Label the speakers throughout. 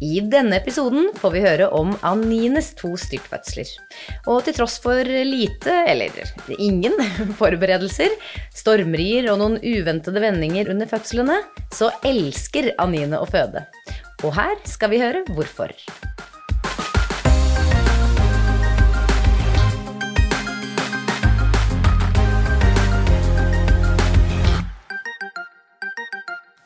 Speaker 1: I denne episoden får vi høre om Anines to styrtfødsler. Og til tross for lite, eller ingen, forberedelser, stormrier og noen uventede vendinger under fødslene, så elsker Anine å føde. Og her skal vi høre hvorfor.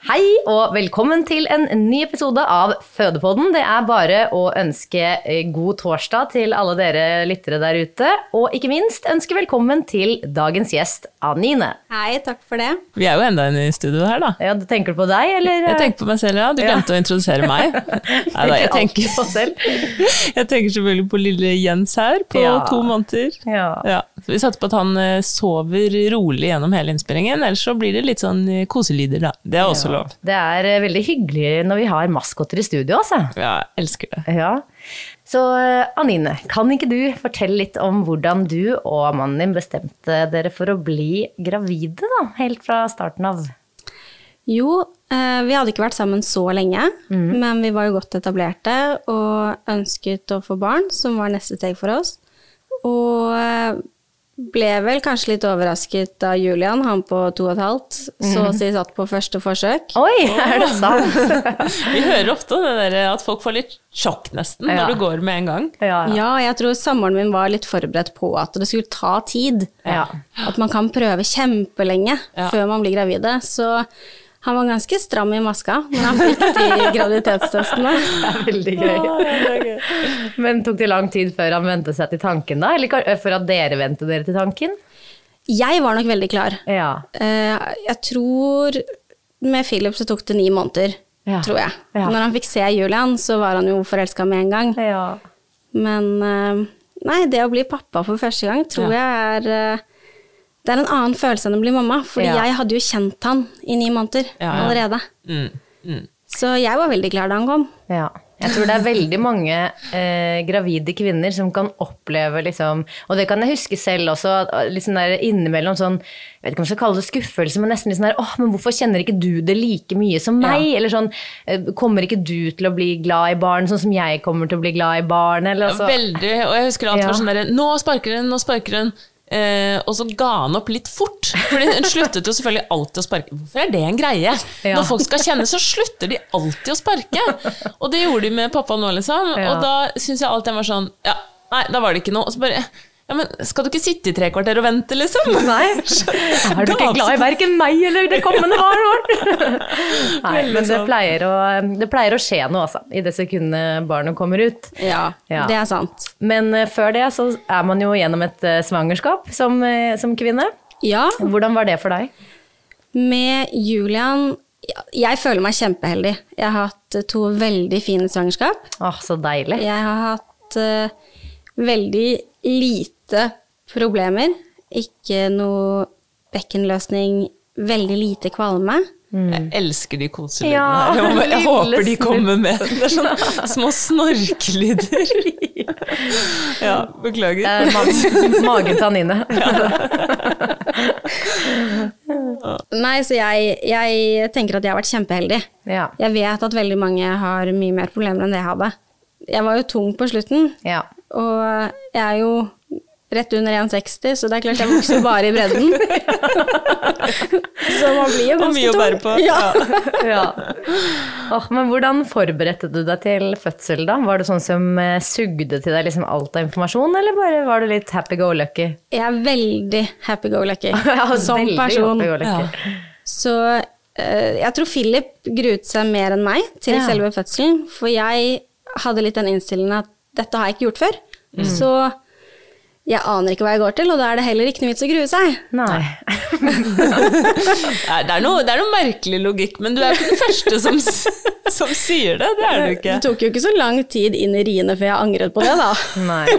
Speaker 1: Hei og velkommen til en ny episode av Fødepodden. Det er bare å ønske eh, god torsdag til alle dere lyttere der ute. Og ikke minst ønske velkommen til dagens gjest, Anine.
Speaker 2: Hei, takk for det.
Speaker 3: Vi er jo enda en i studio her, da.
Speaker 1: Ja, du tenker du på deg, eller?
Speaker 3: Jeg tenker på meg selv, ja. Du glemte å introdusere meg. Nei da, jeg tenker,
Speaker 1: alltid på oss selv.
Speaker 3: jeg tenker selvfølgelig på lille Jens her, på
Speaker 1: Ja.
Speaker 3: to måneder.
Speaker 1: Ja.
Speaker 3: Ja. Så vi satser på at han eh, sover rolig gjennom hele innspillingen, ellers så blir det litt sånn eh, koselyder, da. Det er også lov.
Speaker 1: Det er eh, veldig hyggelig når vi har maskotter i studio, altså.
Speaker 3: Ja, jeg elsker det.
Speaker 1: Ja. Så eh, Anine, kan ikke du fortelle litt om hvordan du og mannen din bestemte dere for å bli gravide, da? Helt fra starten av.
Speaker 2: Jo, eh, vi hadde ikke vært sammen så lenge,
Speaker 1: Mhm.
Speaker 2: men vi var jo godt etablerte og ønsket å få barn, som var neste steg for oss. Og eh, ble vel kanskje litt overrasket da Julian, han på to og et halvt,
Speaker 1: Mhm.
Speaker 2: så å si satt på første forsøk.
Speaker 1: Oi, er det sant?
Speaker 3: Vi hører ofte om det der at folk får litt sjokk nesten
Speaker 1: Ja.
Speaker 3: når du går med en gang.
Speaker 1: Ja, ja.
Speaker 2: Ja, jeg tror samboeren min var litt forberedt på at det skulle ta tid.
Speaker 1: Ja.
Speaker 2: At man kan prøve kjempelenge
Speaker 3: Ja.
Speaker 2: før man blir gravide. Så han var ganske stram i maska når han fikk de graviditetstestene.
Speaker 1: Det er veldig gøy. Men tok det lang tid før han vente seg til tanken, da? Eller ka- før at dere vente dere til tanken?
Speaker 2: Jeg var nok veldig klar.
Speaker 1: Ja.
Speaker 2: Eh, jeg tror med Philip så tok det ni måneder,
Speaker 1: Ja.
Speaker 2: tror jeg.
Speaker 1: Ja.
Speaker 2: Når han fikk se Julian, så var han jo forelska med en gang.
Speaker 1: ja.
Speaker 2: Men eh, nei, det å bli pappa for første gang tror jeg er eh, Det er en annen følelse enn å bli mamma, fordi
Speaker 1: Ja.
Speaker 2: jeg hadde jo kjent han i ni måneder
Speaker 3: Ja, ja.
Speaker 2: allerede.
Speaker 3: Mm. Mm.
Speaker 2: Så jeg var veldig klar da han kom.
Speaker 1: Ja. Jeg tror det er veldig mange eh, gravide kvinner som kan oppleve liksom Og det kan jeg huske selv også, at liksom der innimellom sånn Jeg vet ikke om jeg skal kalle det skuffelse, men nesten litt sånn der åh, men hvorfor kjenner ikke du det like mye som meg? Eller sånn eh, Kommer ikke du til å bli glad i barn sånn som jeg kommer til å bli glad i barn? Eller altså
Speaker 3: Veldig, og jeg husker alltid
Speaker 1: Ja.
Speaker 3: var sånn der, nå sparker hun, nå sparker hun. Eh, og så ga han opp litt fort. Fordi hun sluttet jo selvfølgelig alltid å sparke. Hvorfor er det en greie?
Speaker 1: Ja.
Speaker 3: Når folk skal kjenne, så slutter de alltid å sparke. Og det gjorde de med pappa nå, liksom.
Speaker 1: Ja.
Speaker 3: Og da syns jeg alltid han var sånn Ja, nei, da var det ikke noe. Og så bare Ja, men skal du ikke sitte i tre kvarter og vente, liksom?
Speaker 1: Nei. Er du ikke glad i verken meg eller det kommende barnet vårt? Nei, men
Speaker 2: sånn.
Speaker 1: det pleier, å, det pleier å skje noe, altså, i det sekundet barnet kommer ut.
Speaker 2: Ja,
Speaker 1: Ja.
Speaker 2: det er sant.
Speaker 1: Men eh, før det så er man jo gjennom et eh, svangerskap som, eh, som kvinne.
Speaker 2: Ja,
Speaker 1: Hvordan var det for deg?
Speaker 2: Med Julian Jeg føler meg kjempeheldig. Jeg har hatt to veldig fine svangerskap.
Speaker 1: Åh, så deilig.
Speaker 2: Jeg har hatt eh, veldig lite problemer. Ikke noe bekkenløsning, veldig lite kvalme.
Speaker 3: Jeg elsker de koselydene
Speaker 1: Mm. Ja,
Speaker 3: her. Jeg, må- jeg
Speaker 1: lille
Speaker 3: håper de
Speaker 1: snurr.
Speaker 3: kommer med. Det er sånn små snorkelyder. Ja, beklager.
Speaker 1: Eh, ma- Magen til Anine.
Speaker 2: Nei, så jeg, jeg tenker at jeg har vært kjempeheldig.
Speaker 1: Ja.
Speaker 2: Jeg vet at veldig mange har mye mer problemer enn det jeg hadde. Jeg var jo tung på slutten,
Speaker 1: ja.
Speaker 2: og jeg er jo rett under 1,60, så det er klart jeg vokser bare i bredden. så man blir jo
Speaker 3: Og
Speaker 2: ganske
Speaker 3: mye å
Speaker 2: tung.
Speaker 3: bære på.
Speaker 2: Ja.
Speaker 1: ja. Åh, men hvordan forberedte du deg til fødsel, da? Var du sånn som eh, sugde til deg liksom alt av informasjon, eller bare var du litt happy go lucky?
Speaker 2: Jeg er veldig happy-go-lucky
Speaker 1: Ja,
Speaker 2: som
Speaker 1: veldig
Speaker 2: person.
Speaker 1: happy go lucky.
Speaker 3: Ja.
Speaker 2: Så eh, jeg tror Philip gruet seg mer enn meg til
Speaker 1: Ja.
Speaker 2: selve fødselen, for jeg hadde litt den innstillingen at dette har jeg ikke gjort før.
Speaker 3: Mm.
Speaker 2: Så jeg aner ikke hva jeg går til, og da er det heller ikke noe vits å grue seg.
Speaker 1: Nei.
Speaker 3: Nei, Det er, noe, det er noe merkelig logikk, men du er ikke den første som, s- som sier det. Det er du ikke.
Speaker 2: Det tok jo ikke så lang tid inn i riene før jeg angret på det, da.
Speaker 1: Nei.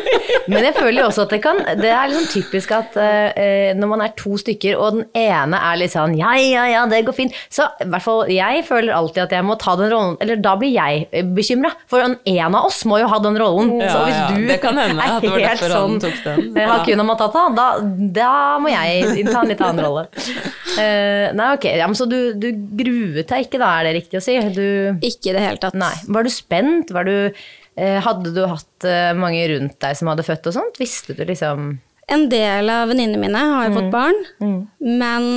Speaker 1: Men jeg føler jo også at det kan Det er liksom typisk at eh, eh, når man er to stykker, og den ene er litt sånn Ja, ja, ja, det går fint. Så i hvert fall jeg føler alltid at jeg må ta den rollen Eller da blir jeg bekymra, for en, en av oss må jo ha den rollen.
Speaker 3: Ja,
Speaker 1: så hvis
Speaker 3: ja,
Speaker 1: du
Speaker 3: det kan hende at det var
Speaker 1: er helt
Speaker 3: derfor han tok den.
Speaker 1: eh,
Speaker 3: Ja.
Speaker 1: Hakuna Matata, da, da må jeg innta en litt annen rolle. Eh, nei, ok. Ja, men så du, du gruet deg ikke, da, er det riktig å si? Du
Speaker 2: Ikke i det hele tatt.
Speaker 1: Nei. Var du spent? Var du, eh, hadde du hatt eh, mange rundt deg som hadde født og sånt? Visste du liksom
Speaker 2: En del av venninnene mine har jo
Speaker 3: Mm.
Speaker 2: fått barn, men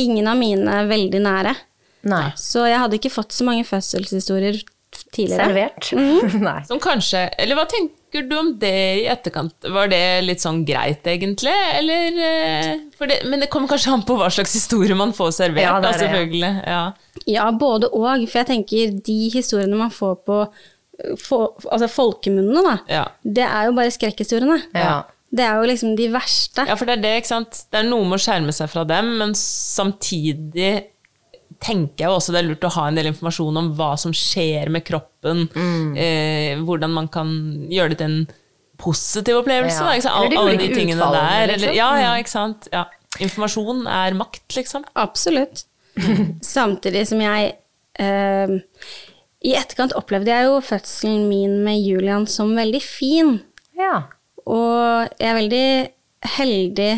Speaker 2: ingen av mine er veldig nære.
Speaker 1: Nei.
Speaker 2: Så jeg hadde ikke fått så mange fødselshistorier tidligere.
Speaker 1: Servert? Nei.
Speaker 3: Som kanskje Eller hva tenker du om det i etterkant? Var det litt sånn greit, egentlig? Eller eh, for det, Men det kommer kanskje an på hva slags historie man får servert,
Speaker 1: Ja, det er det,
Speaker 3: da,
Speaker 1: ja.
Speaker 3: selvfølgelig. Ja.
Speaker 2: Ja, både og. For jeg tenker de historiene man får på eh, fo- altså folkemunnene, da,
Speaker 3: Ja.
Speaker 2: det er jo bare skrekkhistoriene.
Speaker 1: Ja.
Speaker 2: Det er jo liksom de verste.
Speaker 3: Ja, for det er det, ikke sant? Det er noe med å skjerme seg fra dem, men samtidig tenker jeg jo også det er lurt å ha en del informasjon om hva som skjer med kroppen,
Speaker 1: Mm.
Speaker 3: eh, hvordan man kan gjøre det til en positiv opplevelse,
Speaker 1: Ja.
Speaker 3: da, ikke sant? All,
Speaker 1: Eller de
Speaker 3: alle de
Speaker 1: ulike
Speaker 3: tingene
Speaker 1: utfallene,
Speaker 3: der.
Speaker 1: liksom.
Speaker 3: Eller, ja, ja, ikke sant? Ja. Informasjon er makt, liksom.
Speaker 2: Absolutt. Samtidig som jeg eh, I etterkant opplevde jeg jo fødselen min med Julian som veldig fin.
Speaker 1: Ja.
Speaker 2: Og jeg er veldig heldig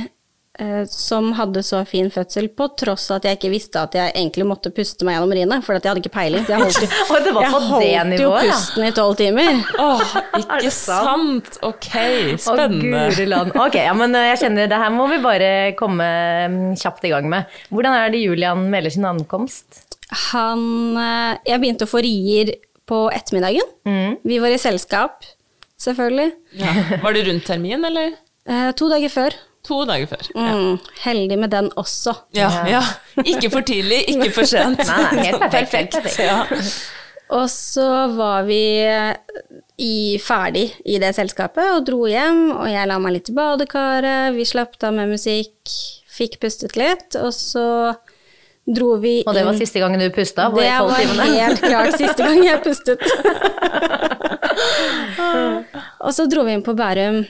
Speaker 2: eh, som hadde så fin fødsel, på tross av at jeg ikke visste at jeg egentlig måtte puste meg gjennom riene, for at jeg hadde ikke peiling. Så jeg holdt, jo-
Speaker 1: Og det var på
Speaker 2: jeg holdt
Speaker 1: det
Speaker 2: jo
Speaker 1: nivået, ja.
Speaker 2: pusten i tolv timer.
Speaker 3: Åh,
Speaker 1: Er
Speaker 3: ikke
Speaker 1: det sant?
Speaker 3: sant? Ok,
Speaker 1: Å,
Speaker 3: spennende.
Speaker 1: guri land. Ok, ja, men eh, jeg kjenner det her må vi bare komme mm, kjapt i gang med. Hvordan er det Julian melder sin ankomst?
Speaker 2: Han eh, Jeg begynte å få rier på ettermiddagen.
Speaker 1: Mm.
Speaker 2: Vi var i selskap, selvfølgelig.
Speaker 3: Ja. Var det rundt termin, eller?
Speaker 2: Eh, to dager før.
Speaker 3: To dager før.
Speaker 2: Mm, heldig med den også.
Speaker 3: Ja, ja. Ikke for tidlig, ikke for sent.
Speaker 1: Nei, nei, helt
Speaker 3: Sånn
Speaker 1: perfekt, helt perfekt.
Speaker 3: Ja.
Speaker 2: Og så var vi eh, i, ferdig i det selskapet og dro hjem, og jeg la meg litt i badekaret, vi slapp av med musikk, fikk pustet litt, og så dro vi
Speaker 1: Og det var
Speaker 2: inn-
Speaker 1: siste gangen du pusta?
Speaker 2: Det var helt klart siste gang jeg pustet. og så dro vi inn på Bærum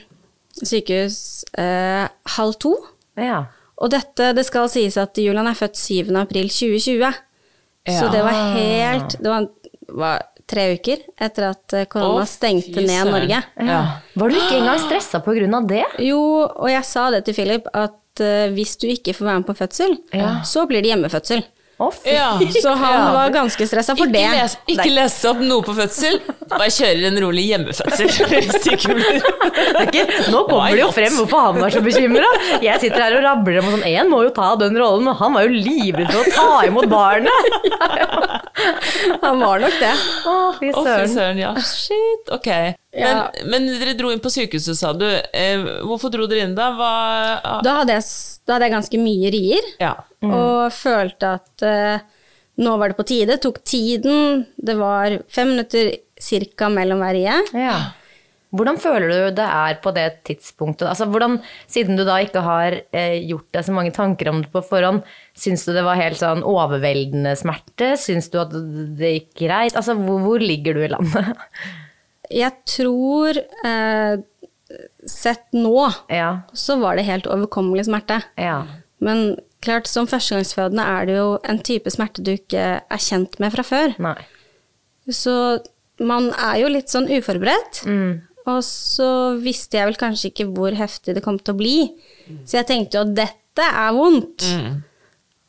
Speaker 2: sykehus eh, halv to.
Speaker 1: Ja.
Speaker 2: Og dette, det skal sies at Julian er født 7. april 2020. Så det var helt Det var, var tre uker etter at eh, korona
Speaker 3: Å,
Speaker 2: stengte
Speaker 3: fy
Speaker 2: ned
Speaker 3: søren.
Speaker 2: Norge.
Speaker 3: Ja.
Speaker 1: Var du ikke engang stressa på grunn av det?
Speaker 2: Jo, og jeg sa det til Philip, at eh, hvis du ikke får være med på fødsel, så blir det hjemmefødsel.
Speaker 1: Å, fy.
Speaker 3: Ja.
Speaker 2: Så han var ganske stressa for
Speaker 3: ikke
Speaker 2: det.
Speaker 3: les, ikke lese opp noe på fødsel, bare kjører en rolig hjemmefødsel. Hvis det ikke blir
Speaker 1: Det er ikke, nå kommer det jo frem hvorfor han var så bekymra. Jeg sitter her og rabler om sånn Én må jo ta den rollen, og han var jo livredd for å ta imot barnet.
Speaker 2: Han var nok det.
Speaker 1: Å, fy
Speaker 3: Å, fy
Speaker 1: søren.
Speaker 3: søren, ja. Shit. Ok. Men,
Speaker 2: Ja.
Speaker 3: men dere dro inn på sykehuset, sa du. Eh, hvorfor dro dere inn da? Hva ah,
Speaker 2: Da hadde jeg, s- da hadde jeg ganske mye rier,
Speaker 3: Ja.
Speaker 2: og følte at eh, nå var det på tide. Tok tiden. Det var fem minutter cirka mellom hver rie.
Speaker 1: Ja. Hvordan føler du det er på det tidspunktet? Altså, hvordan, Siden du da ikke har eh, gjort deg så mange tanker om det på forhånd, syns du det var helt sånn overveldende smerte? Syns du at det gikk greit? Altså, hvor, hvor ligger du i landet?
Speaker 2: Jeg tror eh, Sett nå,
Speaker 1: Ja.
Speaker 2: så var det helt overkommelig smerte.
Speaker 1: Ja.
Speaker 2: Men klart, som førstegangsfødende er det jo en type smerte du ikke er kjent med fra før.
Speaker 1: Nei.
Speaker 2: Så man er jo litt sånn uforberedt.
Speaker 1: Mm.
Speaker 2: Og så visste jeg vel kanskje ikke hvor heftig det kom til å bli. Så jeg tenkte jo at dette er vondt. Og så-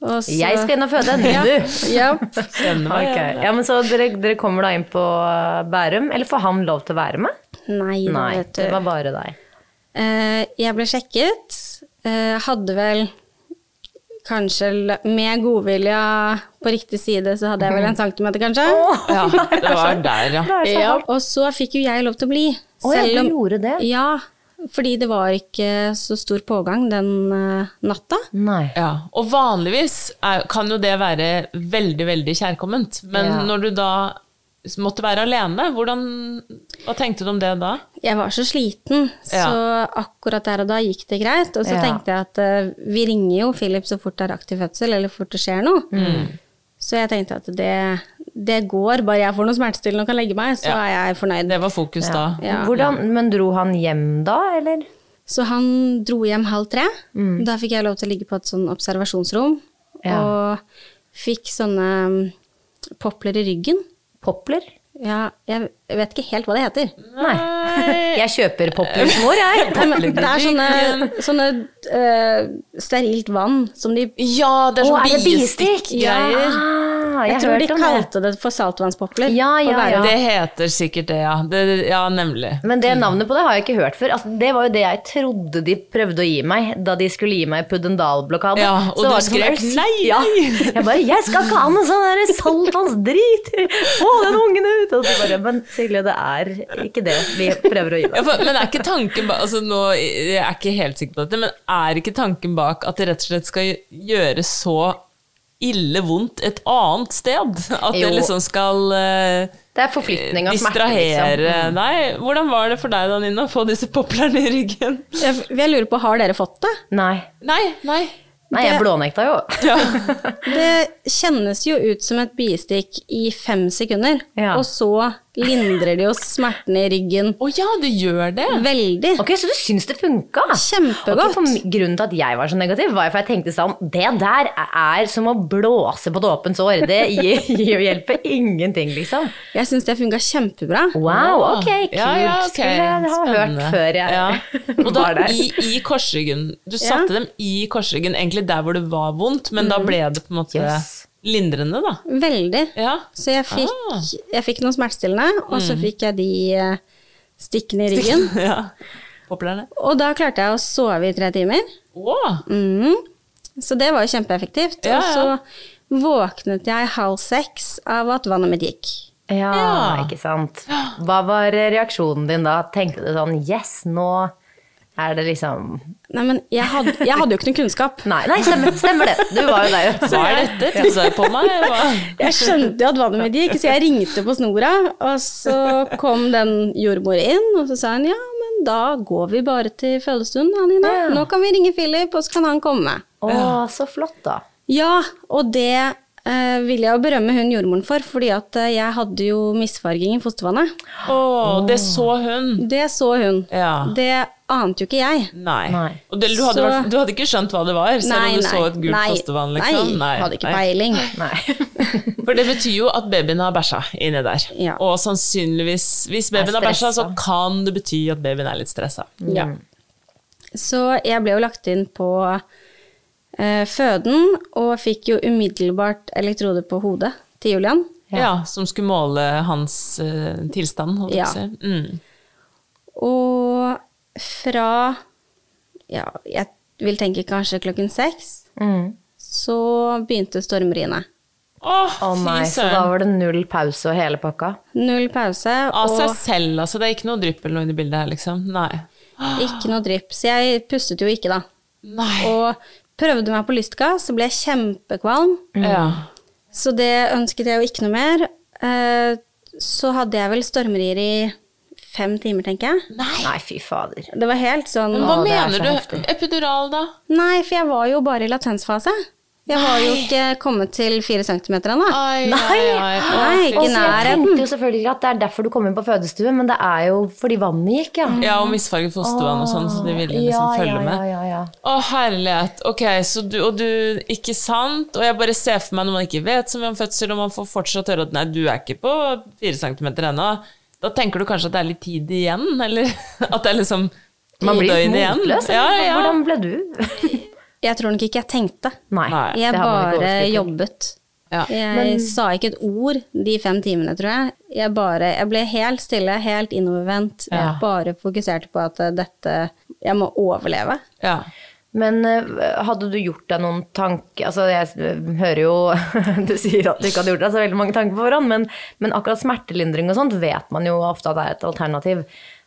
Speaker 1: Mm. Jeg skal inn og føde,
Speaker 2: Ja,
Speaker 1: du!
Speaker 2: ja.
Speaker 3: Kjenner meg
Speaker 1: Ok,
Speaker 3: igjen.
Speaker 1: ja, men så dere, dere kommer da inn på eh, Bærum, eller får han lov til å være med?
Speaker 2: Nei, da,
Speaker 1: Nei,
Speaker 2: vet du.
Speaker 1: det var bare deg.
Speaker 2: Eh, jeg ble sjekket. Eh, hadde vel kanskje l- med godvilja på riktig side, så hadde jeg vel en centimeter, kanskje.
Speaker 3: Ja, det var der, ja.
Speaker 2: ja. Og så fikk jo jeg lov til å bli.
Speaker 1: Å ja, du gjorde det?
Speaker 2: Ja, fordi det var ikke så stor pågang den eh, natta.
Speaker 1: Nei.
Speaker 3: Ja, og vanligvis er, kan jo det være veldig, veldig kjærkomment. Men
Speaker 1: Ja.
Speaker 3: når du da måtte være alene, hvordan, hva tenkte du om det da?
Speaker 2: Jeg var så sliten,
Speaker 3: Ja.
Speaker 2: så akkurat der og da gikk det greit. Og så
Speaker 1: Ja.
Speaker 2: tenkte jeg at eh, vi ringer jo Philip så fort det er aktiv fødsel, eller fort det skjer noe.
Speaker 3: Mm.
Speaker 2: Så jeg tenkte at det, det går, bare jeg får noe smertestillende og kan legge meg, så
Speaker 3: Ja.
Speaker 2: er jeg fornøyd.
Speaker 3: Det var fokus da.
Speaker 2: Ja.
Speaker 1: Hvordan, men dro han hjem da, eller?
Speaker 2: Så han dro hjem halv tre. Da fikk jeg lov til å ligge på et sånn observasjonsrom.
Speaker 1: Mm. Ja.
Speaker 2: Og fikk sånne mm, popler i ryggen.
Speaker 1: Popler?
Speaker 2: Ja, jeg vet ikke helt hva det heter.
Speaker 1: Nei. Jeg kjøper poplersmor, jeg.
Speaker 2: Nei, men det er sånne, sånne eh, sterilt vann som de
Speaker 3: Ja, det
Speaker 1: Å,
Speaker 3: er sånn
Speaker 1: er det bistikk?
Speaker 3: biestikkgreier.
Speaker 1: Ah,
Speaker 2: Jeg,
Speaker 1: jeg,
Speaker 2: tror de
Speaker 1: hørte om det.
Speaker 2: kalte det for saltvannspopler.
Speaker 1: Ja,
Speaker 2: på
Speaker 1: ja,
Speaker 2: Bærum.
Speaker 3: Det heter sikkert det, ja. Det, ja, nemlig.
Speaker 1: Men det navnet på det har jeg ikke hørt før. Altså, det var jo det jeg trodde de prøvde å gi meg da de skulle gi meg Puddendal-blokade.
Speaker 3: Ja,
Speaker 1: Så
Speaker 3: og du
Speaker 1: var det sånn,
Speaker 3: skrek,
Speaker 1: "Er du
Speaker 3: «Nei,
Speaker 1: sikker?» Ja. Jeg bare 'jeg skal ikke ha noe sånn der saltvannsdrit', få den ungen ut! Og så bare, men Silje, det er ikke det vi prøver å gi
Speaker 3: Ja,
Speaker 1: deg.
Speaker 3: for, men er ikke tanken bak altså nå, Jeg er ikke helt sikker på dette, men er ikke tanken bak at det rett og slett skal gjøre så ille vondt et annet sted? At det
Speaker 1: Jo.
Speaker 3: liksom skal eh,
Speaker 1: Det er forflytning av smerte.
Speaker 3: distrahere
Speaker 1: Liksom.
Speaker 3: deg? Hvordan var det for deg da, Nina, å få disse poplerne i ryggen?
Speaker 2: Jeg, jeg lurer på, har dere fått det?
Speaker 1: Nei.
Speaker 3: Nei, nei.
Speaker 1: Nei, jeg blånekta jo.
Speaker 2: Det kjennes jo ut som et biestikk i fem sekunder,
Speaker 1: Ja.
Speaker 2: og så lindrer det jo smertene i ryggen
Speaker 3: Å ja, det gjør det.
Speaker 2: veldig.
Speaker 1: Ok, Så du syns det funka?
Speaker 2: Kjempegodt.
Speaker 1: Ok, for mi- grunnen til at jeg var så negativ, var jo for jeg tenkte sånn Det der er som å blåse på et åpent sår. Det gir, gir, hjelper ingenting, liksom.
Speaker 2: Jeg syns det funka kjempebra.
Speaker 1: Wow, ok, kult.
Speaker 3: Ja, ja, ok.
Speaker 1: Skulle jeg ha hørt
Speaker 3: Spennende.
Speaker 1: før jeg
Speaker 3: Ja. Og da
Speaker 1: var der.
Speaker 3: i, i korsryggen. Du satte dem i korsryggen, egentlig der hvor det var vondt, men da ble det på en måte
Speaker 1: Mm. Yes.
Speaker 3: lindrende, da.
Speaker 2: Veldig.
Speaker 3: Ja.
Speaker 2: Så jeg fikk,
Speaker 3: Ah.
Speaker 2: jeg fikk noen smertestillende, og så fikk jeg de eh, stikkene i ryggen.
Speaker 3: ja. Poplerne.
Speaker 2: Og da klarte jeg å sove i tre timer.
Speaker 3: Å!
Speaker 1: Mm.
Speaker 2: Mhm. Så det var jo kjempeeffektivt.
Speaker 3: Ja, ja.
Speaker 2: Og så våknet jeg halv seks av at vannet mitt gikk.
Speaker 1: Ja,
Speaker 3: Ja.
Speaker 1: ikke sant. Hva var reaksjonen din da? Tenkte du sånn Yes, nå er det liksom
Speaker 2: Nei, men jeg hadde, jeg hadde jo ikke noen kunnskap.
Speaker 1: Nei, nei stemmer, stemmer det. Du var jo der, jo.
Speaker 3: Hva er dette? Tissa jeg på meg? Hva?
Speaker 2: Jeg skjønte jo at vannet mitt gikk, så jeg ringte på snora. Og så kom den jordmora inn, og så sa hun ja, men da går vi bare til fødestuen, Anina.
Speaker 1: Ja.
Speaker 2: Nå kan vi ringe Philip, og så kan han komme.
Speaker 1: Å, så flott, da.
Speaker 2: Ja, og det eh, vil jeg jo berømme hun jordmoren for, fordi at eh, jeg hadde jo misfarging i fostervannet.
Speaker 3: Å, det så hun.
Speaker 2: Det så hun.
Speaker 3: Ja.
Speaker 2: Det ante jo ikke jeg.
Speaker 3: Nei.
Speaker 1: Nei.
Speaker 3: Og det, du, hadde,
Speaker 2: Så-
Speaker 3: vært- du hadde ikke skjønt hva det var, selv om du så et gult
Speaker 2: nei,
Speaker 3: fostervann? Liksom.
Speaker 2: nei, hadde ikke peiling.
Speaker 1: Nei.
Speaker 3: For det betyr jo at babyen har bæsja inni der.
Speaker 2: Ja.
Speaker 3: Og sannsynligvis, hvis babyen
Speaker 1: Er
Speaker 3: har bæsja, så
Speaker 1: stressa.
Speaker 3: kan det bety at babyen er litt stressa.
Speaker 2: Ja. Så jeg ble jo lagt inn på eh, føden, og fikk jo umiddelbart elektrode på hodet til Julian.
Speaker 3: Ja. som skulle måle hans eh, tilstand, holdt jeg
Speaker 2: Ja.
Speaker 3: på å si. Mm.
Speaker 2: Og fra Ja, jeg vil tenke kanskje klokken seks,
Speaker 3: Mm.
Speaker 2: så begynte stormriene.
Speaker 3: Åh,
Speaker 1: Å nei,
Speaker 3: fy
Speaker 1: så da
Speaker 3: søren.
Speaker 1: var det null pause og hele pakka.
Speaker 2: Null pause,
Speaker 3: Av seg
Speaker 2: og
Speaker 3: selv, altså. Det er ikke noe drypp eller noe inni bildet her, liksom. Nei.
Speaker 2: ikke noe drypp. Så jeg pustet jo ikke, da.
Speaker 3: Nei.
Speaker 2: Og prøvde meg på lystgass, så ble jeg kjempekvalm.
Speaker 3: Ja.
Speaker 1: Mm.
Speaker 2: Så det ønsket jeg jo ikke noe mer. Eh, Så hadde jeg vel stormrier i fem timer, tenker jeg.
Speaker 1: Nei, fy fader.
Speaker 2: Det var helt sånn
Speaker 3: Hva
Speaker 1: det er så
Speaker 3: mener du?
Speaker 1: heftig.
Speaker 3: Epidural, da?
Speaker 2: Nei, for jeg var jo bare i latensfase. Jeg har jo ikke kommet til fire centimeter ennå.
Speaker 3: Ai,
Speaker 1: Nei!
Speaker 3: ai, ai. Å,
Speaker 2: Nei, ikke
Speaker 1: Og
Speaker 2: i
Speaker 1: så altså, jeg
Speaker 2: nærheten.
Speaker 1: tenkte jo selvfølgelig at det er derfor du kom inn på fødestue, men det er jo fordi vannet gikk, ja.
Speaker 3: Ja, og misfarget fostervann og sånn, så de ville liksom
Speaker 1: Ja,
Speaker 3: følge
Speaker 1: ja,
Speaker 3: med.
Speaker 1: Ja, ja, ja.
Speaker 3: Å, herlighet. Ok, så du, og du Ikke sant? Og jeg bare ser for meg når man ikke vet så mye om fødsel, og man får fortsatt høre at nei, du er ikke på fire centimeter ennå. Da tenker du kanskje at det er litt tid igjen, eller at det er liksom to
Speaker 1: Man blir
Speaker 3: døgn
Speaker 1: litt
Speaker 3: igjen.
Speaker 1: motløs.
Speaker 3: Ja,
Speaker 1: eller?
Speaker 3: ja.
Speaker 1: Hvordan ble du?
Speaker 2: Jeg tror nok ikke jeg tenkte.
Speaker 1: Nei.
Speaker 3: Nei.
Speaker 1: det
Speaker 2: Jeg
Speaker 1: har man ikke
Speaker 2: bare
Speaker 1: oversikt over.
Speaker 2: jobbet.
Speaker 3: Ja.
Speaker 2: Jeg
Speaker 1: Men-
Speaker 2: sa ikke et ord de fem timene, tror jeg. Jeg, bare, jeg ble helt stille, helt innovervendt.
Speaker 3: Ja.
Speaker 2: Bare fokuserte på at eh, dette Jeg må overleve.
Speaker 3: ja.
Speaker 1: Men eh, hadde du gjort deg noen tanker Altså, jeg eh, hører jo Du sier at du ikke hadde gjort deg så veldig mange tanker på forhånd, men, men akkurat smertelindring og sånt vet man jo ofte at er et alternativ.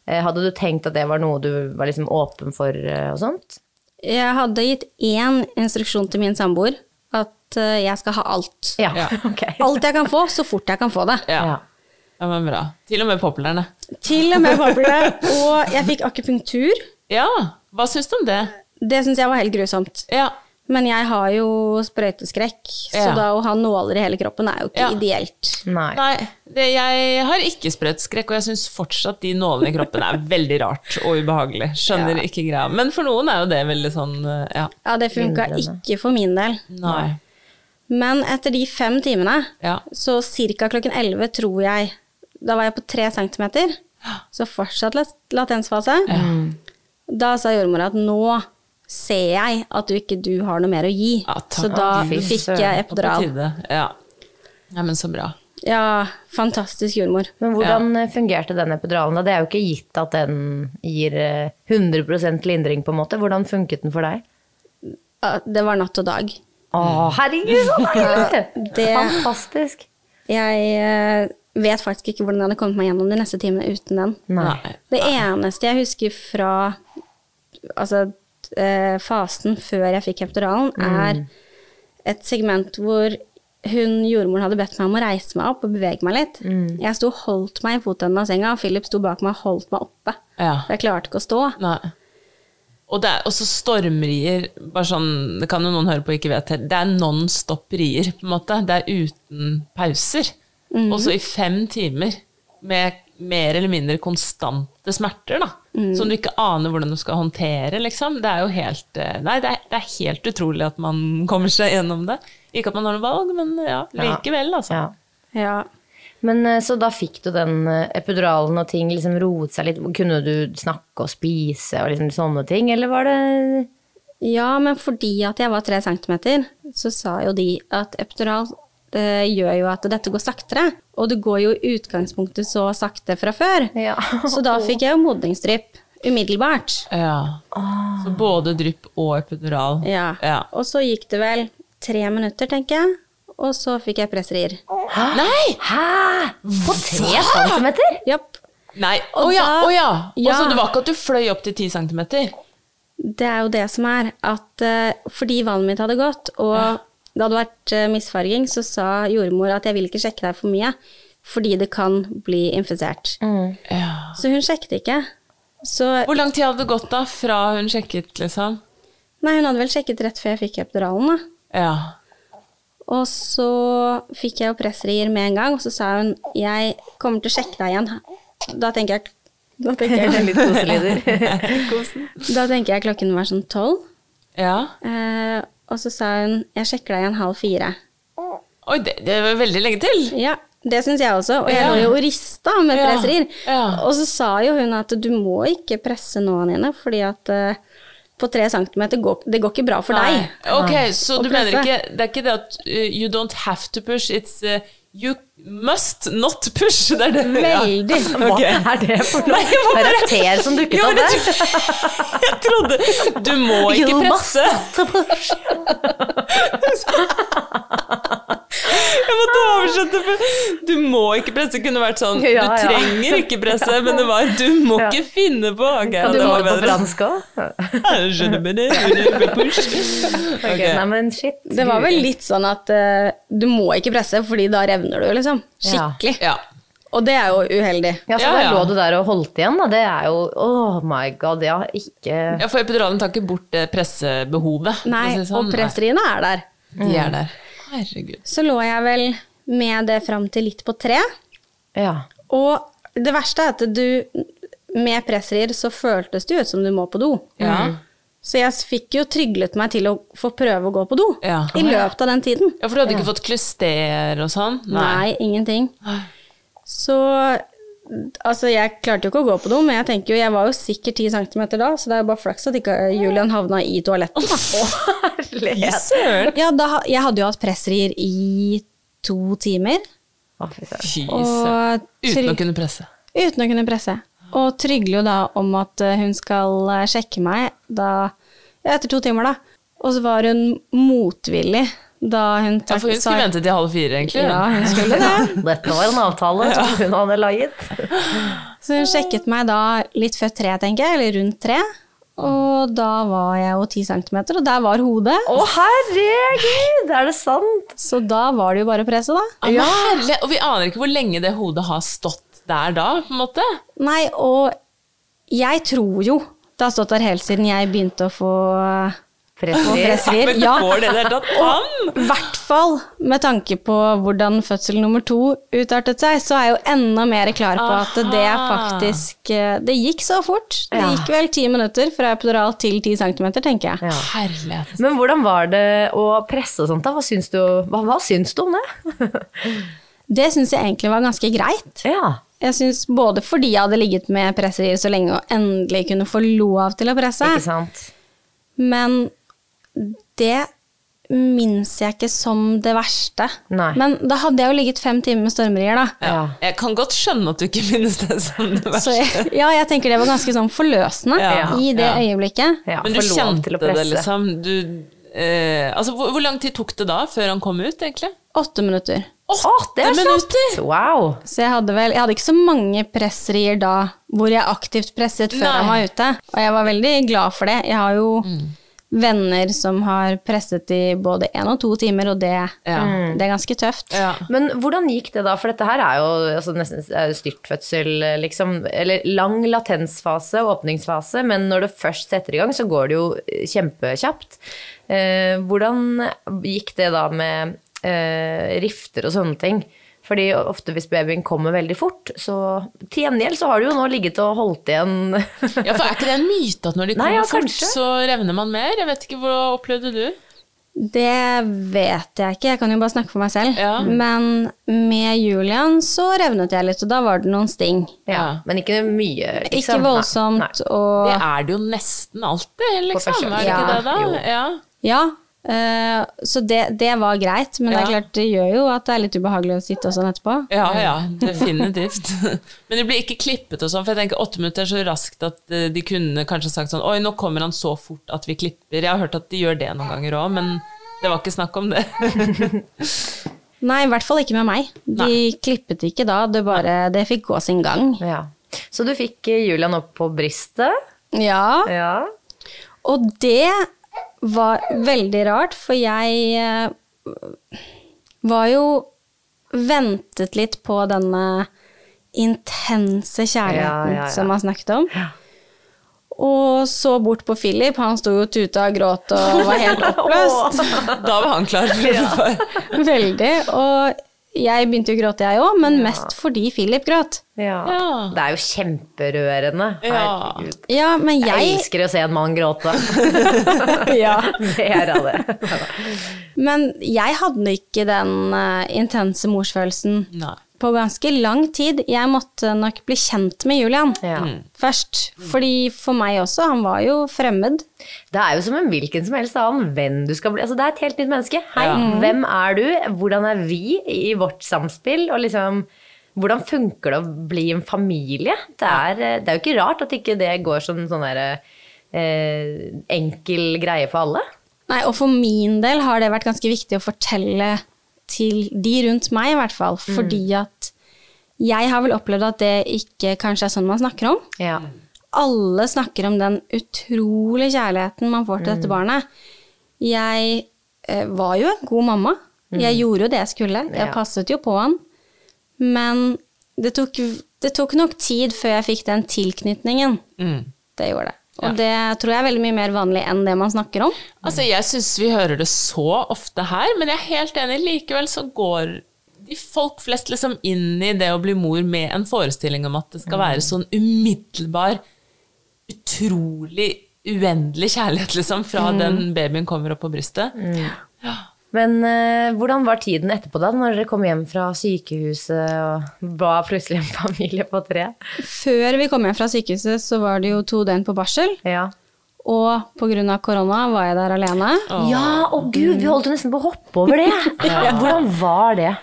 Speaker 1: Eh, Hadde du tenkt at det var noe du var liksom åpen for eh, og sånt?
Speaker 2: Jeg hadde gitt én instruksjon til min samboer. At eh, jeg skal ha alt.
Speaker 1: Ja,
Speaker 3: Ja.
Speaker 1: ok.
Speaker 2: Alt jeg kan få, så fort jeg kan få det.
Speaker 3: Ja.
Speaker 1: Ja.
Speaker 3: ja, men bra. Til og med poplerne.
Speaker 2: Til og med boble. Og jeg fikk akupunktur.
Speaker 3: Ja, hva syns du om det?
Speaker 2: Det syns jeg var helt grusomt.
Speaker 3: Ja.
Speaker 2: Men jeg har jo sprøyteskrekk, så
Speaker 3: Ja.
Speaker 2: da å ha nåler i hele kroppen er jo ikke
Speaker 3: Ja.
Speaker 2: ideelt.
Speaker 1: Nei.
Speaker 3: Nei, det, jeg har ikke sprøyteskrekk, og jeg syns fortsatt de nålene i kroppen er veldig rart og ubehagelig. Skjønner ikke greia. Men for noen er jo det veldig sånn eh, Ja.
Speaker 2: Ja, det funka
Speaker 1: Lindrende.
Speaker 2: ikke for min del.
Speaker 3: Nei.
Speaker 2: Men etter de fem timene,
Speaker 3: Ja.
Speaker 2: så ca. klokken 11 tror jeg Da var jeg på tre centimeter, så fortsatt lat- latensfase.
Speaker 1: Mm.
Speaker 2: Da sa jordmora at nå ser jeg at du ikke du har noe mer å gi.
Speaker 3: Ja, takk.
Speaker 2: så da
Speaker 1: Å, fy
Speaker 2: fikk
Speaker 1: søren.
Speaker 2: jeg
Speaker 3: Og På
Speaker 2: epidural.
Speaker 3: tide. Ja. ja, men så bra.
Speaker 2: Ja, fantastisk jordmor.
Speaker 1: Men hvordan eh, fungerte den epiduralen? da? Det er jo ikke gitt at den gir eh, 100 lindring, på en måte. Hvordan funket den for deg?
Speaker 2: Ja, Det var natt og dag.
Speaker 1: Å, herregud, så deilig!
Speaker 2: Det-
Speaker 1: Fantastisk.
Speaker 2: Jeg eh, vet faktisk ikke hvordan jeg hadde kommet meg gjennom de neste timene uten den.
Speaker 1: Nei.
Speaker 2: Det eneste jeg husker fra altså, eh, fasen før jeg fikk heptoralen, er et segment hvor hun, jordmoren hadde bedt meg om å reise meg opp og bevege meg litt. Jeg sto og holdt meg i fotenden av senga, og Philip sto bak meg og holdt meg oppe.
Speaker 3: Ja.
Speaker 2: For jeg klarte ikke å stå.
Speaker 3: Nei. Og det er også stormrier, bare sånn, det kan jo noen høre på og ikke vet heller, det er non stop rier, på en måte. Det er uten pauser.
Speaker 2: Mhm.
Speaker 3: Og så i fem timer med mer eller mindre konstante smerter, da.
Speaker 2: Mhm.
Speaker 3: Som du ikke aner hvordan du skal håndtere, liksom. Det er jo helt eh, Nei, det er, det er helt utrolig at man kommer seg gjennom det. Ikke at man har noe valg, men ja, likevel, altså.
Speaker 1: Ja.
Speaker 2: Ja.
Speaker 1: Men eh, så da fikk du den eh, epiduralen og ting liksom roet seg litt. Kunne du snakke og spise og liksom sånne ting, eller var det
Speaker 2: men fordi at jeg var tre centimeter, så sa jo de at eptoral gjør jo at dette går saktere. Og det går jo i utgangspunktet så sakte fra før.
Speaker 1: Ja.
Speaker 2: Så da fikk jeg jo modningsdrypp umiddelbart.
Speaker 3: Ja. Så både drypp og epidural.
Speaker 2: Ah. Ja.
Speaker 3: ja.
Speaker 2: Og så gikk det vel tre minutter, tenker jeg. Og så fikk jeg pressrier.
Speaker 3: Ah, Nei!
Speaker 1: Hæ? På tre centimeter?
Speaker 2: Japp.
Speaker 3: Nei, å
Speaker 2: Og
Speaker 3: ja,
Speaker 2: da-
Speaker 3: å ja. Og så
Speaker 2: Ja.
Speaker 3: det var ikke at du fløy opp til 10 centimeter?
Speaker 2: Det er jo det som er at eh, fordi vannet mitt hadde gått, og det hadde vært eh, misfarging, så sa jordmor at jeg vil ikke sjekke deg for mye, fordi det kan bli infisert.
Speaker 3: Ja.
Speaker 2: Så hun sjekket ikke. Så
Speaker 3: Hvor lang tid hadde det gått da, fra hun sjekket, liksom?
Speaker 2: Nei, hun hadde vel sjekket rett før jeg fikk epiduralen, da.
Speaker 3: Ja.
Speaker 2: Og så fikk jeg jo pressrier med en gang, og så sa hun 'jeg kommer til å sjekke deg igjen'. Da tenker jeg, da tenker jeg
Speaker 1: Litt koseleder.
Speaker 2: Da tenker jeg klokken var sånn tolv.
Speaker 3: ja.
Speaker 2: Eh, og så sa hun 'jeg sjekker deg igjen halv fire'.
Speaker 3: Oi, det, det var veldig lenge til.
Speaker 2: Ja, det syns jeg også, og jeg
Speaker 3: Ja.
Speaker 2: lå jo og rista med
Speaker 3: Ja,
Speaker 2: presserier.
Speaker 3: ja.
Speaker 2: Og så sa jo hun at du må ikke presse nå, Anine, fordi at eh, på tre centimeter går, det går ikke bra for deg.
Speaker 3: Ok, så
Speaker 2: Og
Speaker 3: du mener
Speaker 2: presse.
Speaker 3: ikke Det er ikke det at uh, you don't have to push, it's uh, you must not push. Det er det.
Speaker 2: Veldig.
Speaker 3: Ja. Altså, Ok.
Speaker 1: Hva er det for
Speaker 3: Nei, jeg må
Speaker 1: noe
Speaker 3: bare-
Speaker 1: karakter som dukket
Speaker 3: Jo,
Speaker 1: opp
Speaker 3: det
Speaker 1: der?
Speaker 3: Jeg trodde Du må ikke
Speaker 1: You must
Speaker 3: presse.
Speaker 1: not push.
Speaker 3: Jeg måtte oversette. for Du må ikke presse kunne vært sånn. Du
Speaker 1: Ja, ja.
Speaker 3: trenger ikke presse, men det var du må ikke finne på. Ok,
Speaker 1: Kan du få
Speaker 3: det var
Speaker 1: det på
Speaker 3: bedre.
Speaker 1: fransk òg?
Speaker 3: Ok.
Speaker 1: Nei, men shit.
Speaker 2: Det var vel litt sånn at eh, du må ikke presse, fordi da revner du, liksom.
Speaker 1: Ja.
Speaker 2: Skikkelig.
Speaker 3: Ja.
Speaker 2: Og det er jo uheldig.
Speaker 1: Ja, så
Speaker 3: Ja,
Speaker 1: da
Speaker 3: ja.
Speaker 1: lå du der og holdt igjen, da. Det er jo Oh my god, ja, ikke
Speaker 3: ja, for epiduralen tar ikke bort det eh, pressebehovet. for å
Speaker 2: Nei,
Speaker 3: si det sånn.
Speaker 2: og presseriene er der.
Speaker 3: De er der. Herregud.
Speaker 2: Så lå jeg vel med det fram til litt på tre.
Speaker 1: Ja.
Speaker 2: Og det verste er at du Med pressrir så føltes det jo ut som du må på do.
Speaker 3: Ja.
Speaker 2: Så jeg fikk jo tryglet meg til å få prøve å gå på do
Speaker 3: Ja.
Speaker 2: i løpet av den tiden.
Speaker 3: ja, for du hadde ikke fått klyster og sånn?
Speaker 2: Nei, ingenting. Så Altså, jeg klarte jo ikke å gå på do, men jeg tenker jo, jeg var jo sikkert 10 cm da, så det er jo bare flaks at ikke eh, Julian havna i toalettet. da.
Speaker 3: Fy Søren!
Speaker 2: Ja, da, ha- jeg hadde jo hatt pressrier i to timer,
Speaker 1: Å, fy søren.
Speaker 3: Fy søren.
Speaker 2: og
Speaker 3: Uten å
Speaker 2: tryg-
Speaker 3: kunne presse.
Speaker 2: uten å kunne presse. Og trygler jo da om at eh, hun skal eh, sjekke meg da, ja, etter to timer, da. Og så var hun motvillig da hun
Speaker 3: Ja, for hun skulle vente til halv fire, egentlig.
Speaker 2: Ja, hun skulle det.
Speaker 1: Dette var en avtale som hun hadde laget.
Speaker 2: Så hun sjekket meg da litt før tre, tenker jeg, eller rundt tre. Og da var jeg jo ti centimeter, og der var hodet.
Speaker 1: Å, herregud! Er det sant?
Speaker 2: Så da var det jo bare presset, da.
Speaker 3: Ja, Ah, men herlig. Og vi aner ikke hvor lenge det hodet har stått der da, på en måte.
Speaker 2: Nei, og jeg tror jo det har stått der helt siden jeg begynte å få få
Speaker 1: Pressrir.
Speaker 2: pressrier.
Speaker 3: Men
Speaker 2: Ja,
Speaker 3: går det der tatt an?
Speaker 2: i hvert fall med tanke på hvordan fødsel nummer to utartet seg, så er jeg jo enda mer klar på at det
Speaker 3: Aha.
Speaker 2: faktisk eh, Det gikk så fort. Det
Speaker 1: Ja.
Speaker 2: gikk vel ti minutter fra epidural til ti centimeter, tenker jeg.
Speaker 1: Ja.
Speaker 3: Herlighet.
Speaker 1: Men hvordan var det å presse og sånt da? Hva syns du, hva, hva syns du om det?
Speaker 2: Det syns jeg egentlig var ganske greit.
Speaker 1: ja.
Speaker 2: Jeg synes Både fordi jeg hadde ligget med presserier så lenge og endelig kunne få lov til å presse,
Speaker 1: Ikke sant?
Speaker 2: men det minnes jeg ikke som det verste.
Speaker 1: Nei.
Speaker 2: Men da hadde jeg jo ligget fem timer med stormrier, da.
Speaker 3: Ja.
Speaker 1: Ja.
Speaker 3: Jeg kan godt skjønne at du ikke minnes det som det
Speaker 2: Så
Speaker 3: verste.
Speaker 2: jeg, ja, jeg tenker det var ganske sånn forløsende
Speaker 3: Ja.
Speaker 2: i det
Speaker 3: Ja.
Speaker 2: øyeblikket.
Speaker 1: ja.
Speaker 3: Men du
Speaker 1: få lov til
Speaker 3: kjente
Speaker 1: å
Speaker 3: det,
Speaker 1: presse.
Speaker 3: liksom. Du, eh, altså, hvor, hvor lang tid tok det da, før han kom ut, egentlig?
Speaker 2: Åtte minutter.
Speaker 3: Åtte
Speaker 1: det er
Speaker 3: minutter!
Speaker 1: sant! Wow!
Speaker 2: Så jeg hadde vel Jeg hadde ikke så mange presserier da hvor jeg aktivt presset før
Speaker 3: Nei. Mm.
Speaker 2: han var ute. Og jeg var veldig glad for det. Jeg har jo venner som har presset i både én og to timer, og det,
Speaker 3: Ja.
Speaker 1: Mm.
Speaker 2: det er ganske tøft.
Speaker 3: Ja.
Speaker 1: Men hvordan gikk det da? For dette her er jo altså, nesten eh, styrtfødsel, liksom. Eller lang latensfase og åpningsfase, men når det først setter i gang, så går det jo eh, kjempekjapt. Eh, hvordan gikk det da med eh, rifter og sånne ting? Fordi ofte hvis babyen kommer veldig fort, så til gjengjeld så har du jo nå ligget og holdt igjen
Speaker 3: ja, for er ikke det en myte at når de
Speaker 1: Nei,
Speaker 3: kommer
Speaker 1: ja,
Speaker 3: fort,
Speaker 1: kanskje.
Speaker 3: så revner man mer? Jeg vet ikke, hva opplevde du?
Speaker 2: Det vet jeg ikke, jeg kan jo bare snakke for meg selv.
Speaker 3: Ja.
Speaker 2: Men med Julian så revnet jeg litt, og da var det noen sting.
Speaker 1: ja,
Speaker 3: Ja.
Speaker 1: Men ikke mye,
Speaker 2: Ikke
Speaker 1: liksom. Nei,
Speaker 2: voldsomt
Speaker 1: nei.
Speaker 2: og
Speaker 3: Det er det jo nesten alltid, liksom.
Speaker 1: første-
Speaker 3: Er det
Speaker 1: Ja.
Speaker 3: ikke det, da?
Speaker 1: Jo.
Speaker 3: Ja.
Speaker 2: Ja. eh, så det, det var greit, men det er
Speaker 3: Ja.
Speaker 2: klart det gjør jo at det er litt ubehagelig å sitte og sånn etterpå.
Speaker 3: ja, ja, definitivt. Men det blir ikke klippet og sånn, for jeg tenker åtte minutter er så raskt at eh, de kunne kanskje sagt sånn Oi, nå kommer han så fort at vi klipper. Jeg har hørt at de gjør det noen ganger òg, men det var ikke snakk om det.
Speaker 2: Nei, i hvert fall ikke med meg. De klippet ikke da, det, bare, det fikk gå sin gang.
Speaker 1: Ja. Så du fikk eh, Julian opp på bristet.
Speaker 2: Ja,
Speaker 1: Ja.
Speaker 2: og det var veldig rart, for jeg eh, var jo ventet litt på denne intense kjærligheten
Speaker 1: Ja, ja, ja.
Speaker 2: som han snakket om. Og så bort på Philip, han sto jo og tuta og gråt og var helt oppløst.
Speaker 3: Da var han klar for det.
Speaker 2: Veldig. Og jeg begynte jo å gråte, jeg òg, men mest fordi Philip gråt.
Speaker 1: Ja.
Speaker 3: Ja.
Speaker 1: Det er jo kjemperørende.
Speaker 3: Ja.
Speaker 1: Herregud.
Speaker 2: Ja, men
Speaker 1: Jeg
Speaker 2: jeg
Speaker 1: elsker å se en mann gråte.
Speaker 2: ja.
Speaker 1: Mer av det.
Speaker 2: Men jeg hadde ikke den eh, intense morsfølelsen
Speaker 3: Nei.
Speaker 2: på ganske lang tid. Jeg måtte nok bli kjent med Julian
Speaker 1: Ja.
Speaker 2: først. Fordi for meg også, han var jo fremmed.
Speaker 1: Det er jo som en hvilken som helst annen venn du skal bli. Altså, det er et helt nytt menneske. Hei,
Speaker 3: Ja.
Speaker 1: hvem er du? Hvordan er vi i vårt samspill? Og liksom, hvordan funker det å bli en familie? Det er, eh, det er jo ikke rart at ikke det går som sånn der, eh, enkel greie for alle.
Speaker 2: Nei, og for min del har det vært ganske viktig å fortelle til de rundt meg, i hvert fall. Fordi at jeg har vel opplevd at det ikke kanskje er sånn man snakker om.
Speaker 1: Ja.
Speaker 2: alle snakker om den utrolige kjærligheten man får til dette barnet. Jeg eh, var jo en god mamma. Jeg gjorde jo det jeg skulle.
Speaker 1: Ja.
Speaker 2: Jeg passet jo på han. Men det tok, det tok nok tid før jeg fikk den tilknytningen. Det gjorde det. Og det tror jeg er veldig mye mer vanlig enn det man snakker om.
Speaker 3: Altså, jeg syns vi hører det så ofte her, men jeg er helt enig. Likevel så går de folk flest liksom inn i det å bli mor med en forestilling om at det skal være sånn umiddelbar, utrolig, uendelig kjærlighet, liksom, fra
Speaker 2: Mm.
Speaker 3: den babyen kommer opp på brystet.
Speaker 1: Men eh, hvordan var tiden etterpå, da? Når dere kom hjem fra sykehuset og var plutselig en familie på tre?
Speaker 2: Før vi kom hjem fra sykehuset, så var det jo to døgn på barsel.
Speaker 1: Ja.
Speaker 2: Og pga. korona var jeg der alene.
Speaker 1: Ja, å gud, vi holdt jo nesten på å hoppe over det. Hvordan var det?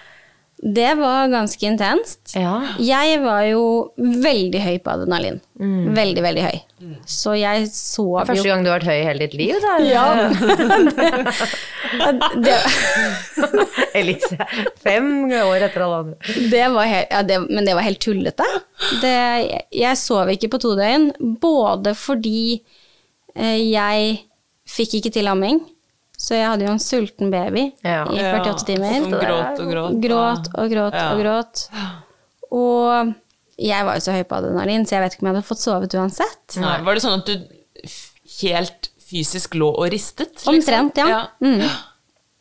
Speaker 2: Det var ganske intenst.
Speaker 1: Ja.
Speaker 2: Jeg var jo veldig høy på adrenalin. Veldig, veldig høy.
Speaker 3: Mm.
Speaker 2: Så jeg sov jo
Speaker 1: Mm. Første gang du har vært høy i hele ditt liv, da?
Speaker 2: Ja. det,
Speaker 1: Elise. Fem år etter alle andre.
Speaker 2: det var helt, ja, det, men det var helt tullete. Det, jeg sov ikke på to døgn, både fordi eh, jeg fikk ikke til amming, så jeg hadde jo en sulten baby
Speaker 1: Ja.
Speaker 2: i 48 timer.
Speaker 3: Som gråt og gråt.
Speaker 2: Gråt og gråt og gråt. Og jeg var jo så høy på adrenalin, så jeg vet ikke om jeg hadde fått sovet uansett.
Speaker 3: Nei, var det sånn at du f- helt fysisk lå og ristet? liksom?
Speaker 2: Omtrent, ja. Mm.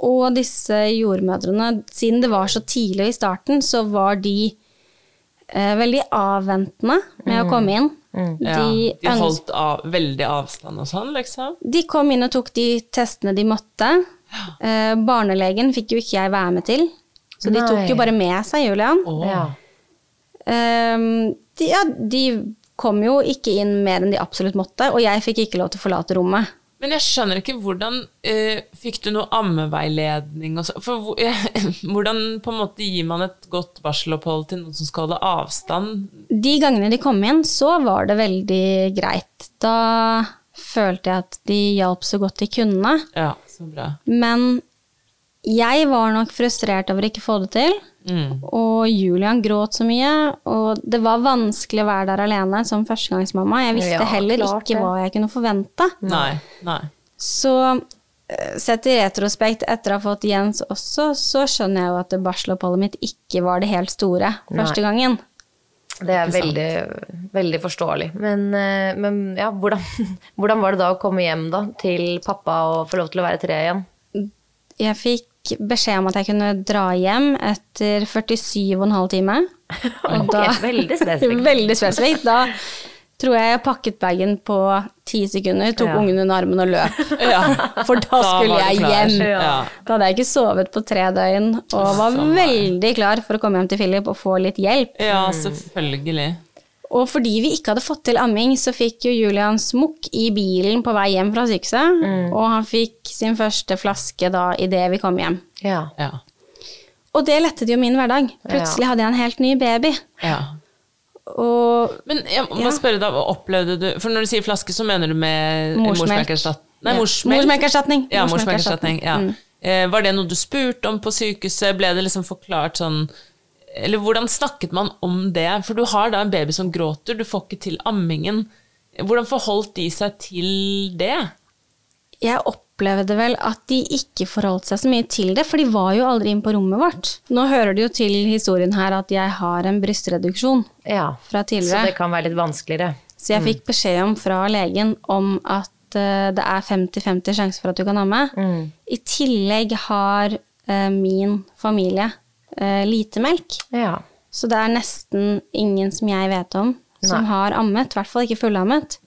Speaker 2: Og disse jordmødrene, siden det var så tidlig i starten, så var de eh, veldig avventende med å komme inn.
Speaker 3: Mm. Ja,
Speaker 2: De,
Speaker 3: de
Speaker 2: øns-
Speaker 3: holdt av, veldig avstand og sånn, liksom?
Speaker 2: de kom inn og tok de testene de måtte. Eh, barnelegen fikk jo ikke jeg være med til, så de
Speaker 1: Nei.
Speaker 2: tok jo bare med seg Julian.
Speaker 1: Ja.
Speaker 2: Ehm, de, ja, de kom jo ikke inn mer enn de absolutt måtte, og jeg fikk ikke lov til å forlate rommet.
Speaker 3: Men jeg skjønner ikke hvordan eh, Fikk du noe ammeveiledning og så? For hvor- hvordan på en måte gir man et godt barselopphold til noen som skal holde avstand?
Speaker 2: De gangene de kom inn, så var det veldig greit. Da følte jeg at de hjalp så godt de kunne.
Speaker 3: Ja, så bra.
Speaker 2: Men jeg var nok frustrert over ikke å få det til.
Speaker 3: Mm.
Speaker 2: Og Julian gråt så mye, og det var vanskelig å være der alene som førstegangsmamma. Jeg visste
Speaker 1: Ja,
Speaker 2: heller
Speaker 1: klart
Speaker 2: ikke
Speaker 1: det.
Speaker 2: hva jeg kunne forvente.
Speaker 3: Nei. nei.
Speaker 2: Så eh, sett i retrospekt, etter å ha fått Jens også, så skjønner jeg jo at det barseloppholdet mitt ikke var det helt store første gangen.
Speaker 1: Det er veldig, veldig forståelig. Men, eh, men ja, hvordan, hvordan var det da å komme hjem da, til pappa og få lov til å være tre igjen?
Speaker 2: Jeg fikk beskjed om at jeg kunne dra hjem etter 47,5 timer. Og da-
Speaker 1: Ok, veldig spesifikt.
Speaker 2: veldig spesifikt. Da tror jeg jeg pakket bagen på ti sekunder, tok
Speaker 1: Ja.
Speaker 2: ungen under armen og løp. For da
Speaker 3: Da
Speaker 2: skulle
Speaker 3: var du
Speaker 2: jeg
Speaker 3: klar.
Speaker 2: hjem.
Speaker 3: Ja.
Speaker 2: Da hadde jeg ikke sovet på tre døgn, og var veldig klar for å komme hjem til Philip og få litt hjelp.
Speaker 3: Ja, selvfølgelig.
Speaker 2: Og fordi vi ikke hadde fått til amming, så fikk jo Julian smokk i bilen på vei hjem fra sykehuset, og han fikk sin første flaske da idet vi kom hjem.
Speaker 1: Ja.
Speaker 3: Ja.
Speaker 2: Og det lettet jo min hverdag. Plutselig hadde jeg en helt ny baby.
Speaker 3: ja.
Speaker 2: Og
Speaker 3: Men jeg må spørre deg, opplevde du For når du sier flaske, så mener du med
Speaker 2: Morsmelk.
Speaker 3: morsmelkerstatning? Nei,
Speaker 2: Ja.
Speaker 3: morsmelk.
Speaker 2: Morsmelkerstatning.
Speaker 3: Ja,
Speaker 2: Morsmelkerstatning. Mm.
Speaker 3: morsmelkerstatning. Ja. Eh, var det noe du spurte om på sykehuset? Ble det liksom forklart sånn Eller hvordan snakket man om det? For du har da en baby som gråter, du får ikke til ammingen. Hvordan forholdt de seg til det?
Speaker 2: jeg opplevde vel at de ikke forholdt seg så mye til det, for de var jo aldri inn på rommet vårt. Nå hører det jo til historien her at jeg har en brystreduksjon
Speaker 1: ja.
Speaker 2: fra
Speaker 1: Så det Mm.
Speaker 2: tidligere.
Speaker 1: kan være litt vanskeligere.
Speaker 2: Så jeg fikk beskjed om fra legen om at eh, det er 50-50 sjanse for at du kan amme.
Speaker 1: Mm.
Speaker 2: I tillegg har eh, min familie eh, lite melk.
Speaker 1: Ja.
Speaker 2: Så det er nesten ingen som jeg vet om, som
Speaker 1: Nei. Mm.
Speaker 2: har ammet. I hvert fall ikke fullammet.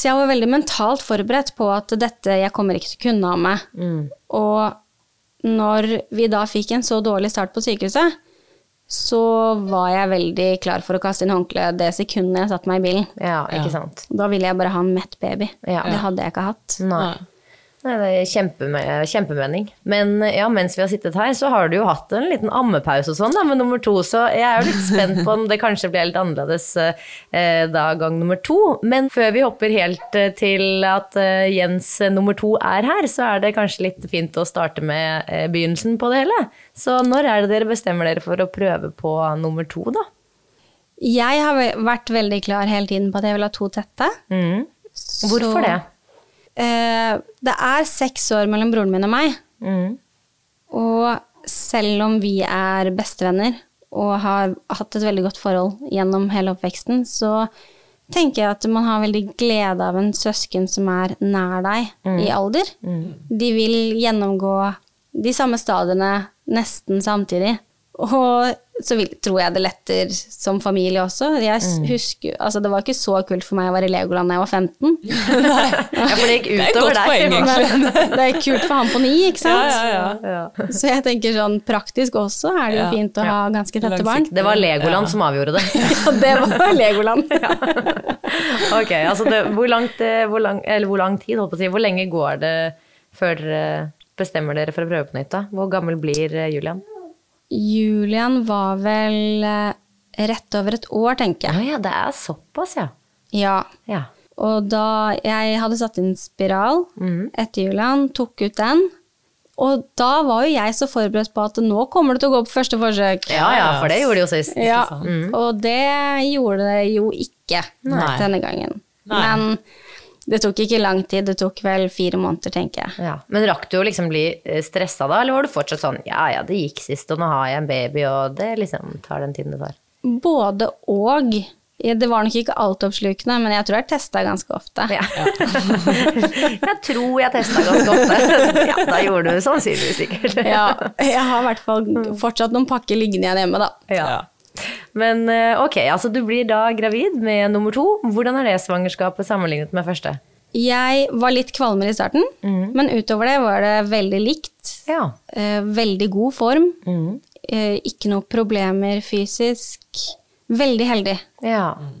Speaker 2: Så jeg var veldig mentalt forberedt på at dette jeg kommer ikke til å kunne amme.
Speaker 1: Mm.
Speaker 2: Og når vi da fikk en så dårlig start på sykehuset, så var jeg veldig klar for å kaste inn håndkleet det sekundet jeg satte meg i bilen.
Speaker 1: ja, ikke sant.
Speaker 2: Da ville jeg bare ha en mett baby.
Speaker 1: Ja. Mm.
Speaker 2: Det hadde jeg ikke hatt.
Speaker 1: Nei. Nei, det er kjempeme kjempemening. Men ja, mens vi har sittet her, så har du jo hatt en liten ammepause og sånn, da, med nummer to. Så jeg er jo litt spent på om det kanskje blir helt annerledes eh, da gang nummer to. Men før vi hopper helt eh, til at eh, Jens eh, nummer to er her, så er det kanskje litt fint å starte med eh, begynnelsen på det hele. Så når er det dere bestemmer dere for å prøve på nummer to, da?
Speaker 2: Jeg har ve- vært veldig klar hele tiden på at jeg vil ha to tette.
Speaker 1: Mm. Hvorfor
Speaker 2: Så-
Speaker 1: det?
Speaker 2: Eh, det er seks år mellom broren min og meg. Og selv om vi er bestevenner og har hatt et veldig godt forhold gjennom hele oppveksten, så tenker jeg at man har veldig glede av en søsken som er nær deg i alder. De vil gjennomgå de samme stadiene nesten samtidig. Og så vil, tror jeg det letter som familie også. Jeg s- husker, altså Det var ikke så kult for meg å være i Legoland da jeg var 15.
Speaker 1: Ja, for det gikk
Speaker 3: er et
Speaker 1: utover
Speaker 3: godt
Speaker 1: deg.
Speaker 3: poeng, egentlig.
Speaker 2: Men det er kult for han på ni, ikke
Speaker 3: Ja,
Speaker 2: sant?
Speaker 3: ja, ja.
Speaker 2: Så jeg tenker sånn praktisk også er det jo
Speaker 3: Ja,
Speaker 2: fint å ha ganske tette barn.
Speaker 3: Langsiktig.
Speaker 1: Det var Legoland som avgjorde det.
Speaker 2: Ja, det var Legoland.
Speaker 1: Ok, altså det, hvor, langt, eh, hvor, lang, eller hvor lang tid, holdt på å si, hvor lenge går det før dere bestemmer dere for å prøve på nytt? da? Hvor gammel blir eh, Julian?
Speaker 2: Julian var vel eh, rett over et år, tenker
Speaker 1: Ja,
Speaker 2: jeg.
Speaker 1: ja, det er såpass, ja.
Speaker 2: Ja.
Speaker 1: ja.
Speaker 2: Og da jeg hadde satt inn spiral
Speaker 3: Mhm.
Speaker 2: etter Julian, tok ut den. Og da var jo jeg så forberedt på at nå kommer det til å gå på første forsøk.
Speaker 1: Ja, ja, for det gjorde de jo sist.
Speaker 2: Ja, Og det gjorde det jo ikke
Speaker 3: Mhm. Nei.
Speaker 2: denne gangen.
Speaker 3: Nei.
Speaker 2: Men det tok ikke lang tid, det tok vel fire måneder, tenker jeg.
Speaker 1: Ja. Men rakk du å liksom bli eh, stressa da, eller var du fortsatt sånn ja ja, det gikk sist, og nå har jeg en baby, og det liksom tar den tiden det tar?
Speaker 2: Både og. Det var nok ikke altoppslukende, men jeg tror jeg testa ganske ofte.
Speaker 1: Ja. jeg tror jeg testa ganske ofte. ja, da gjorde du sannsynligvis sikkert.
Speaker 2: Ja, jeg har i hvert fall fortsatt noen pakker liggende igjen hjemme, da.
Speaker 1: Ja. Men eh, ok, altså du blir da gravid med nummer to. Hvordan er det svangerskapet sammenlignet med første?
Speaker 2: Jeg var litt kvalmere i starten, men utover det var det veldig likt.
Speaker 1: Ja.
Speaker 2: Eh, veldig god form. Eh, ikke noe problemer fysisk. Veldig heldig.
Speaker 1: ja. Mm.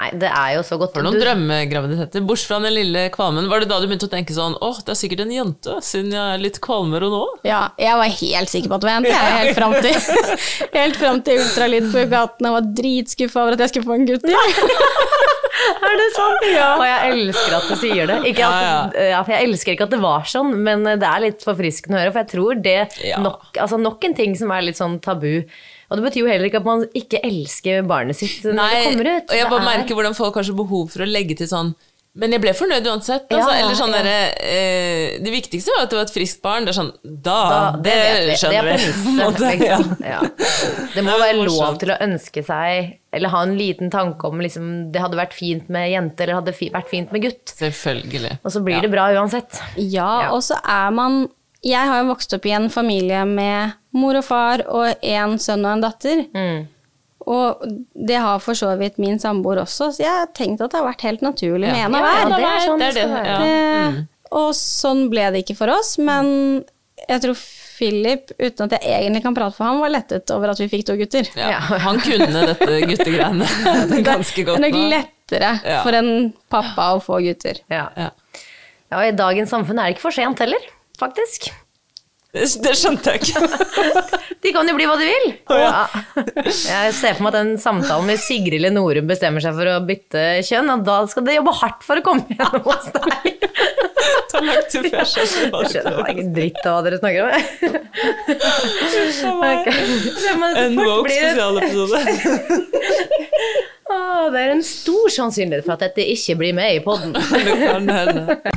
Speaker 1: Nei, det er jo så godt.
Speaker 3: For noen
Speaker 1: Du-
Speaker 3: drømmegraviditeter. Bortsett fra den lille kvalmen. Var det da du begynte å tenke sånn åh, det er sikkert en jente, siden jeg er litt kvalmere nå?
Speaker 2: Ja, jeg var helt sikker på at det var en. Jeg helt fram til, helt fram til ultralyd på gaten og var dritskuffa over at jeg skulle få en gutt.
Speaker 1: Er det sant? Og jeg elsker at du sier det. Ikke at, eh, ja, for jeg elsker ikke at det var sånn, men det er litt forfriskende å høre. For jeg tror det
Speaker 3: Ja.
Speaker 1: nok, altså nok en ting som er litt sånn tabu. Og det betyr jo heller ikke at man ikke elsker barnet sitt når det kommer ut.
Speaker 3: og jeg
Speaker 1: Det
Speaker 3: bare
Speaker 1: er-
Speaker 3: merker hvordan folk har så behov for å legge til sånn men jeg ble fornøyd uansett.
Speaker 1: Ja,
Speaker 3: Altså. Eller sånn
Speaker 1: ja.
Speaker 3: derre, eh, det viktigste var at det var et friskt barn. Det er sånn Da!
Speaker 1: Da-
Speaker 3: det,
Speaker 1: vet vi. det
Speaker 3: skjønner
Speaker 1: er
Speaker 3: vi. på en
Speaker 1: premisset,
Speaker 3: måte.
Speaker 1: ikke
Speaker 3: Ja.
Speaker 1: sant? Ja. Det må
Speaker 3: Nei, men
Speaker 1: være lov
Speaker 3: morsomt.
Speaker 1: til å ønske seg, eller ha en liten tanke om liksom, det hadde vært fint med jente, eller hadde fi, vært fint med gutt.
Speaker 3: Selvfølgelig.
Speaker 1: Og så blir det bra uansett.
Speaker 2: Ja, og så er man Jeg har jo vokst opp i en familie med mor og far og en sønn og en datter. Og det har for så vidt min samboer også, så jeg har tenkt at det har vært helt naturlig med en av
Speaker 1: Ja,
Speaker 2: hver.
Speaker 1: det er sånn det skal
Speaker 3: ja.
Speaker 2: Eh, Og sånn ble det ikke for oss, men jeg tror Philip, uten at jeg egentlig kan prate for ham, var lettet over at vi fikk to gutter.
Speaker 3: Ja. Han kunne dette guttegreiene ganske godt.
Speaker 2: Det er nok
Speaker 3: nå.
Speaker 2: lettere
Speaker 3: Ja.
Speaker 2: for en pappa å få gutter.
Speaker 1: Ja.
Speaker 3: Ja.
Speaker 1: Ja, og I dagens samfunn er det ikke for sent heller, faktisk.
Speaker 3: Det, det skjønte jeg ikke.
Speaker 1: De kan jo bli hva de vil.
Speaker 3: ja.
Speaker 1: Jeg ser for meg at den samtalen med Sigrid Lenorum bestemmer seg for å bytte kjønn, og da skal de jobbe hardt for å komme gjennom hos deg.
Speaker 3: Ta lang tid før jeg skjønte hva
Speaker 1: Jeg
Speaker 3: det
Speaker 1: skjønner
Speaker 3: var.
Speaker 1: bare ikke dritt av hva dere snakker om.
Speaker 3: meg.
Speaker 1: Ok. Så man
Speaker 3: En
Speaker 1: fort
Speaker 3: woke
Speaker 1: blir-
Speaker 3: spesialepisode.
Speaker 1: Å, Det er en stor sannsynlighet for at dette ikke blir med i podden.
Speaker 3: Det kan hende.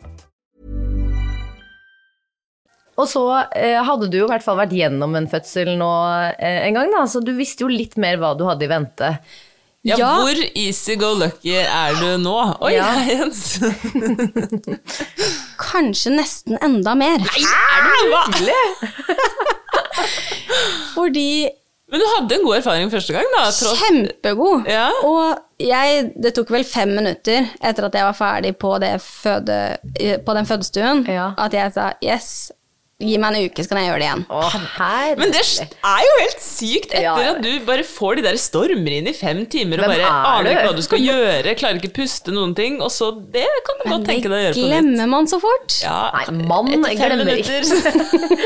Speaker 1: Og så eh, hadde du jo i hvert fall vært gjennom en fødsel nå eh, en gang, da, så du visste jo litt mer hva du hadde i vente.
Speaker 3: Ja,
Speaker 2: Ja.
Speaker 3: hvor easy go lucky er du nå? Oi,
Speaker 1: Ja.
Speaker 3: Jens.
Speaker 2: Kanskje nesten enda mer.
Speaker 3: Hva?
Speaker 2: Fordi
Speaker 3: Men du hadde en god erfaring første gang, da. Tross,
Speaker 2: Kjempegod.
Speaker 3: Ja.
Speaker 2: Og jeg, det tok vel fem minutter etter at jeg var ferdig på, det føde, eh, på den fødestuen,
Speaker 1: Ja.
Speaker 2: at jeg sa yes, gi meg en uke, så kan jeg gjøre det igjen.
Speaker 1: Å, her.
Speaker 3: men det er jo helt sykt etter
Speaker 1: Ja, ja.
Speaker 3: at du bare får de der stormer inn i fem timer og
Speaker 1: Hvem
Speaker 3: bare
Speaker 1: er
Speaker 3: aner
Speaker 1: du?
Speaker 3: ikke hva du skal gjøre, klarer ikke puste noen ting, og så Det kan du godt tenke deg å gjøre på nytt.
Speaker 2: Glemmer man så fort?
Speaker 3: Ja,
Speaker 1: Nei, mann
Speaker 3: etter fem
Speaker 1: glemmer
Speaker 3: minutter.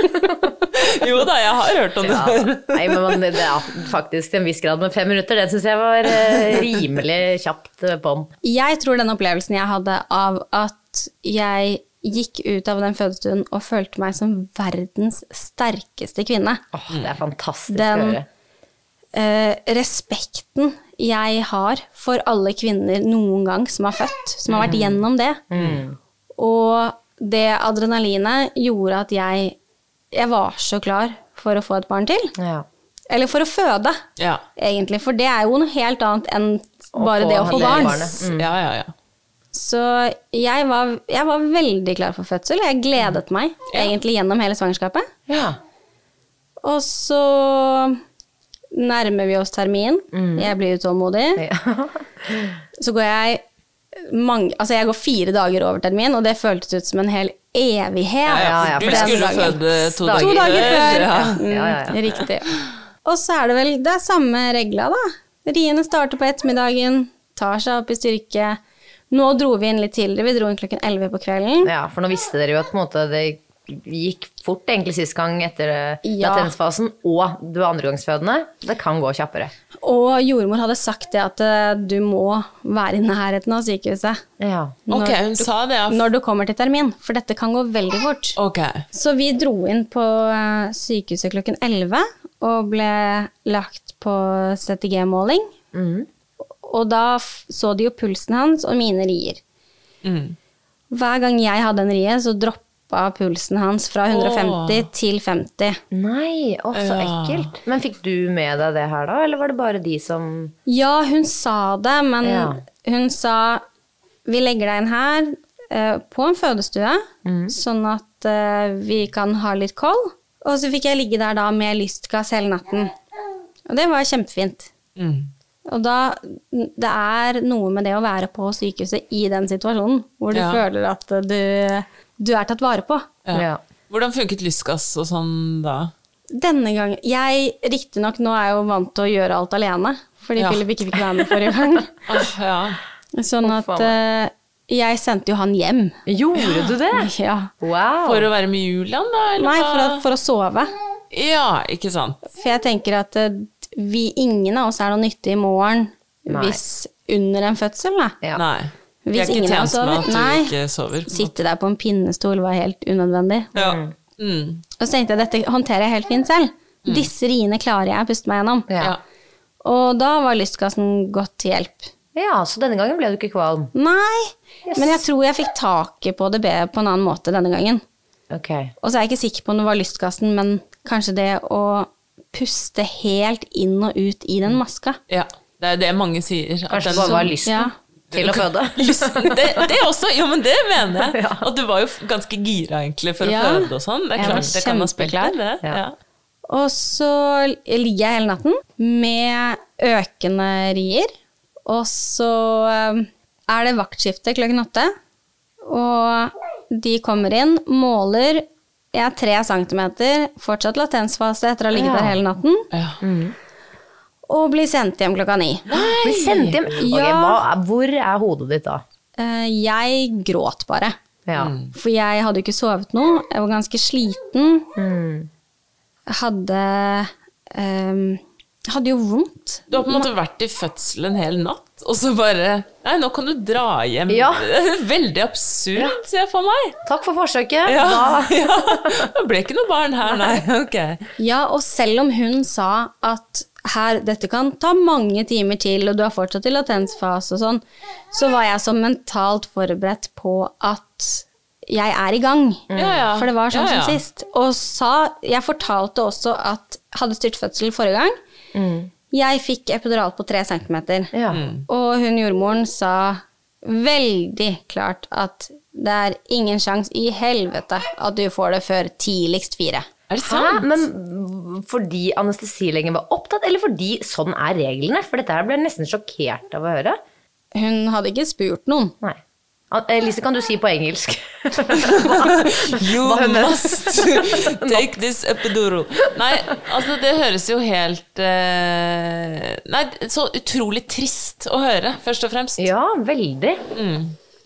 Speaker 3: jo da, jeg har hørt om det før.
Speaker 1: Ja. Nei, men man, det er faktisk til en viss grad, men fem minutter, det syns jeg var eh, rimelig kjapt eh, på'n.
Speaker 2: Jeg tror den opplevelsen jeg hadde av at jeg gikk ut av den fødestuen og følte meg som verdens sterkeste kvinne.
Speaker 1: Åh, det er fantastisk å
Speaker 2: Den-
Speaker 1: høre.
Speaker 2: Eh, respekten jeg har for alle kvinner noen gang som har født, som har vært gjennom det. Og det adrenalinet gjorde at jeg, jeg var så klar for å få et barn til.
Speaker 1: Ja.
Speaker 2: Eller for å føde,
Speaker 3: Ja.
Speaker 2: egentlig. For det er jo noe helt annet enn bare
Speaker 1: få
Speaker 2: det å få
Speaker 1: hele
Speaker 2: barn.
Speaker 1: barnet.
Speaker 3: ja, ja, ja.
Speaker 2: Så jeg var, jeg var veldig klar for fødsel. Jeg gledet meg egentlig gjennom hele svangerskapet.
Speaker 3: ja.
Speaker 2: Og så nærmer vi oss termin.
Speaker 3: Mm.
Speaker 2: Jeg blir utålmodig. så går jeg mange, altså jeg går fire dager over termin, og det føltes ut som en hel evighet.
Speaker 3: ja, ja,
Speaker 1: ja, for
Speaker 3: for Du
Speaker 1: den
Speaker 3: skulle
Speaker 1: dagen.
Speaker 3: føde to dager,
Speaker 2: To dager før.
Speaker 3: Ja.
Speaker 2: Mm,
Speaker 1: Ja, ja, ja.
Speaker 2: Riktig. Og så er det vel det er samme regla, da. Riene starter på ettermiddagen, tar seg opp i styrke. Nå dro vi inn litt tidligere, vi dro inn klokken 11 på kvelden.
Speaker 1: ja, for nå visste dere jo at på en måte, det gikk fort egentlig sist gang etter eh,
Speaker 2: Ja.
Speaker 1: latensfasen, og du er andregangsfødende. Det kan gå kjappere.
Speaker 2: Og jordmor hadde sagt det at eh, du må være i nærheten av sykehuset
Speaker 1: Ja.
Speaker 3: Ok,
Speaker 2: Når
Speaker 3: hun sa det, ja.
Speaker 2: når du kommer til termin, for dette kan gå veldig fort.
Speaker 3: Ok.
Speaker 2: Så vi dro inn på eh, sykehuset klokken 11 og ble lagt på CTG-måling.
Speaker 3: Mhm.
Speaker 2: Og da f- så de jo pulsen hans og mine rier.
Speaker 3: Mm.
Speaker 2: Hver gang jeg hadde en rie, så droppa pulsen hans fra 150 til 50.
Speaker 1: Nei, å, så ekkelt. Men fikk du med deg det her da, eller var det bare de som
Speaker 2: Ja, hun sa det, men
Speaker 1: Ja.
Speaker 2: hun sa vi legger deg inn her eh, på en fødestue,
Speaker 3: Mm.
Speaker 2: sånn at eh, vi kan ha litt koll. Og så fikk jeg ligge der da med lystgass hele natten. Og det var kjempefint.
Speaker 3: Mm.
Speaker 2: Og da Det er noe med det å være på sykehuset i den situasjonen, hvor du
Speaker 3: Ja.
Speaker 2: føler at du, du er tatt vare på.
Speaker 3: Ja.
Speaker 1: Ja.
Speaker 3: Hvordan funket lystgass og sånn da?
Speaker 2: Denne gangen Jeg riktignok nå er jeg jo vant til å gjøre alt alene, fordi
Speaker 3: Ja.
Speaker 2: Philip ikke fikk være med forrige gang.
Speaker 3: Åh, ja.
Speaker 2: Sånn at eh, jeg sendte jo han hjem.
Speaker 1: Gjorde du det?
Speaker 2: Ja.
Speaker 1: Wow.
Speaker 3: For å være med Julian, da? Eller
Speaker 2: Nei, for å,
Speaker 3: hva?
Speaker 2: for å sove.
Speaker 3: Ja, ikke sant.
Speaker 2: For jeg tenker at eh, vi, ingen av oss er noe nyttig i morgen
Speaker 1: Nei.
Speaker 2: hvis under en fødsel. Da.
Speaker 1: Ja.
Speaker 3: Nei. Vi
Speaker 2: Hvis
Speaker 3: er ikke
Speaker 2: ingen av oss
Speaker 3: tjent med
Speaker 2: sover.
Speaker 3: at du
Speaker 2: Nei.
Speaker 3: ikke sover.
Speaker 2: Sitte der på en pinnestol var helt unødvendig.
Speaker 3: Ja. Mm.
Speaker 2: Og så tenkte jeg dette håndterer jeg helt fint selv. Disse riene klarer jeg å puste meg gjennom.
Speaker 1: Ja.
Speaker 3: Ja.
Speaker 2: Og da var lystgassen godt til hjelp.
Speaker 1: ja, så denne gangen ble du ikke kvalm.
Speaker 2: Nei, men jeg tror jeg fikk taket på DB på en annen måte denne gangen.
Speaker 1: Ok.
Speaker 2: Og så er jeg ikke sikker på om det var lystgassen, men kanskje det å puste helt inn og ut i den maska.
Speaker 3: ja. Det er det mange sier. at
Speaker 1: Kanskje
Speaker 3: den-
Speaker 1: det bare var lysten
Speaker 2: Ja.
Speaker 1: til å føde.
Speaker 3: Lysten, det, det også, jo, men det mener jeg. Og du var jo f- ganske gira egentlig for å
Speaker 2: Ja.
Speaker 3: føde og sånn. Det er
Speaker 2: Jeg var
Speaker 3: klart, det kan ha spilt inn, det.
Speaker 2: kjempeklar.
Speaker 3: Ja.
Speaker 1: Ja.
Speaker 2: Og så ligger jeg hele natten med økende rier. Og så eh, er det vaktskifte klokken åtte. Og de kommer inn, måler. Jeg er tre centimeter, fortsatt latensfase etter å ha ligget
Speaker 1: Ja.
Speaker 2: der hele natten.
Speaker 3: Ja.
Speaker 2: Og blir sendt hjem klokka ni.
Speaker 1: Bli sendt hjem. Ok,
Speaker 2: Ja.
Speaker 1: hva, er- hvor er hodet ditt da?
Speaker 2: Eh, Jeg gråt bare.
Speaker 1: Ja.
Speaker 2: For jeg hadde jo ikke sovet noe. Jeg var ganske sliten. Hadde ehm, Hadde jo vondt.
Speaker 3: Du har på en måte vært i fødsel en hel natt, og så bare Nei, nå kan du dra hjem.
Speaker 1: Ja.
Speaker 3: Det er Veldig absurd, ser jeg for meg.
Speaker 1: Takk for forsøket.
Speaker 3: Ja,
Speaker 1: Da,
Speaker 3: ja. Det ble ikke noe barn her, nei. Ok.
Speaker 2: Ja, og selv om hun sa at her, dette kan ta mange timer til, og du er fortsatt i latensfase og sånn, så var jeg så mentalt forberedt på at jeg er i gang.
Speaker 3: Mm. Ja, ja.
Speaker 2: For det var sånn
Speaker 3: Ja, ja.
Speaker 2: som sist. Og sa Jeg fortalte også at hadde styrtfødsel forrige gang.
Speaker 3: Mm.
Speaker 2: Jeg fikk epidural på tre centimeter.
Speaker 1: ja.
Speaker 2: Og hun jordmoren sa veldig klart at det er ingen sjans i helvete at du får det før tidligst fire.
Speaker 3: Er det
Speaker 1: Hæ?
Speaker 3: sant?
Speaker 1: Men fordi anestesilegen var opptatt, eller fordi sånn er reglene? For dette her ble jeg nesten sjokkert av å høre.
Speaker 2: Hun hadde ikke spurt noen.
Speaker 1: Nei. An- eh, Lise, kan du si på engelsk?
Speaker 3: You
Speaker 1: Hva mener du?
Speaker 3: must take this epidural. Nei, altså det høres jo helt eh, Nei, så utrolig trist å høre, først og fremst.
Speaker 1: ja, veldig.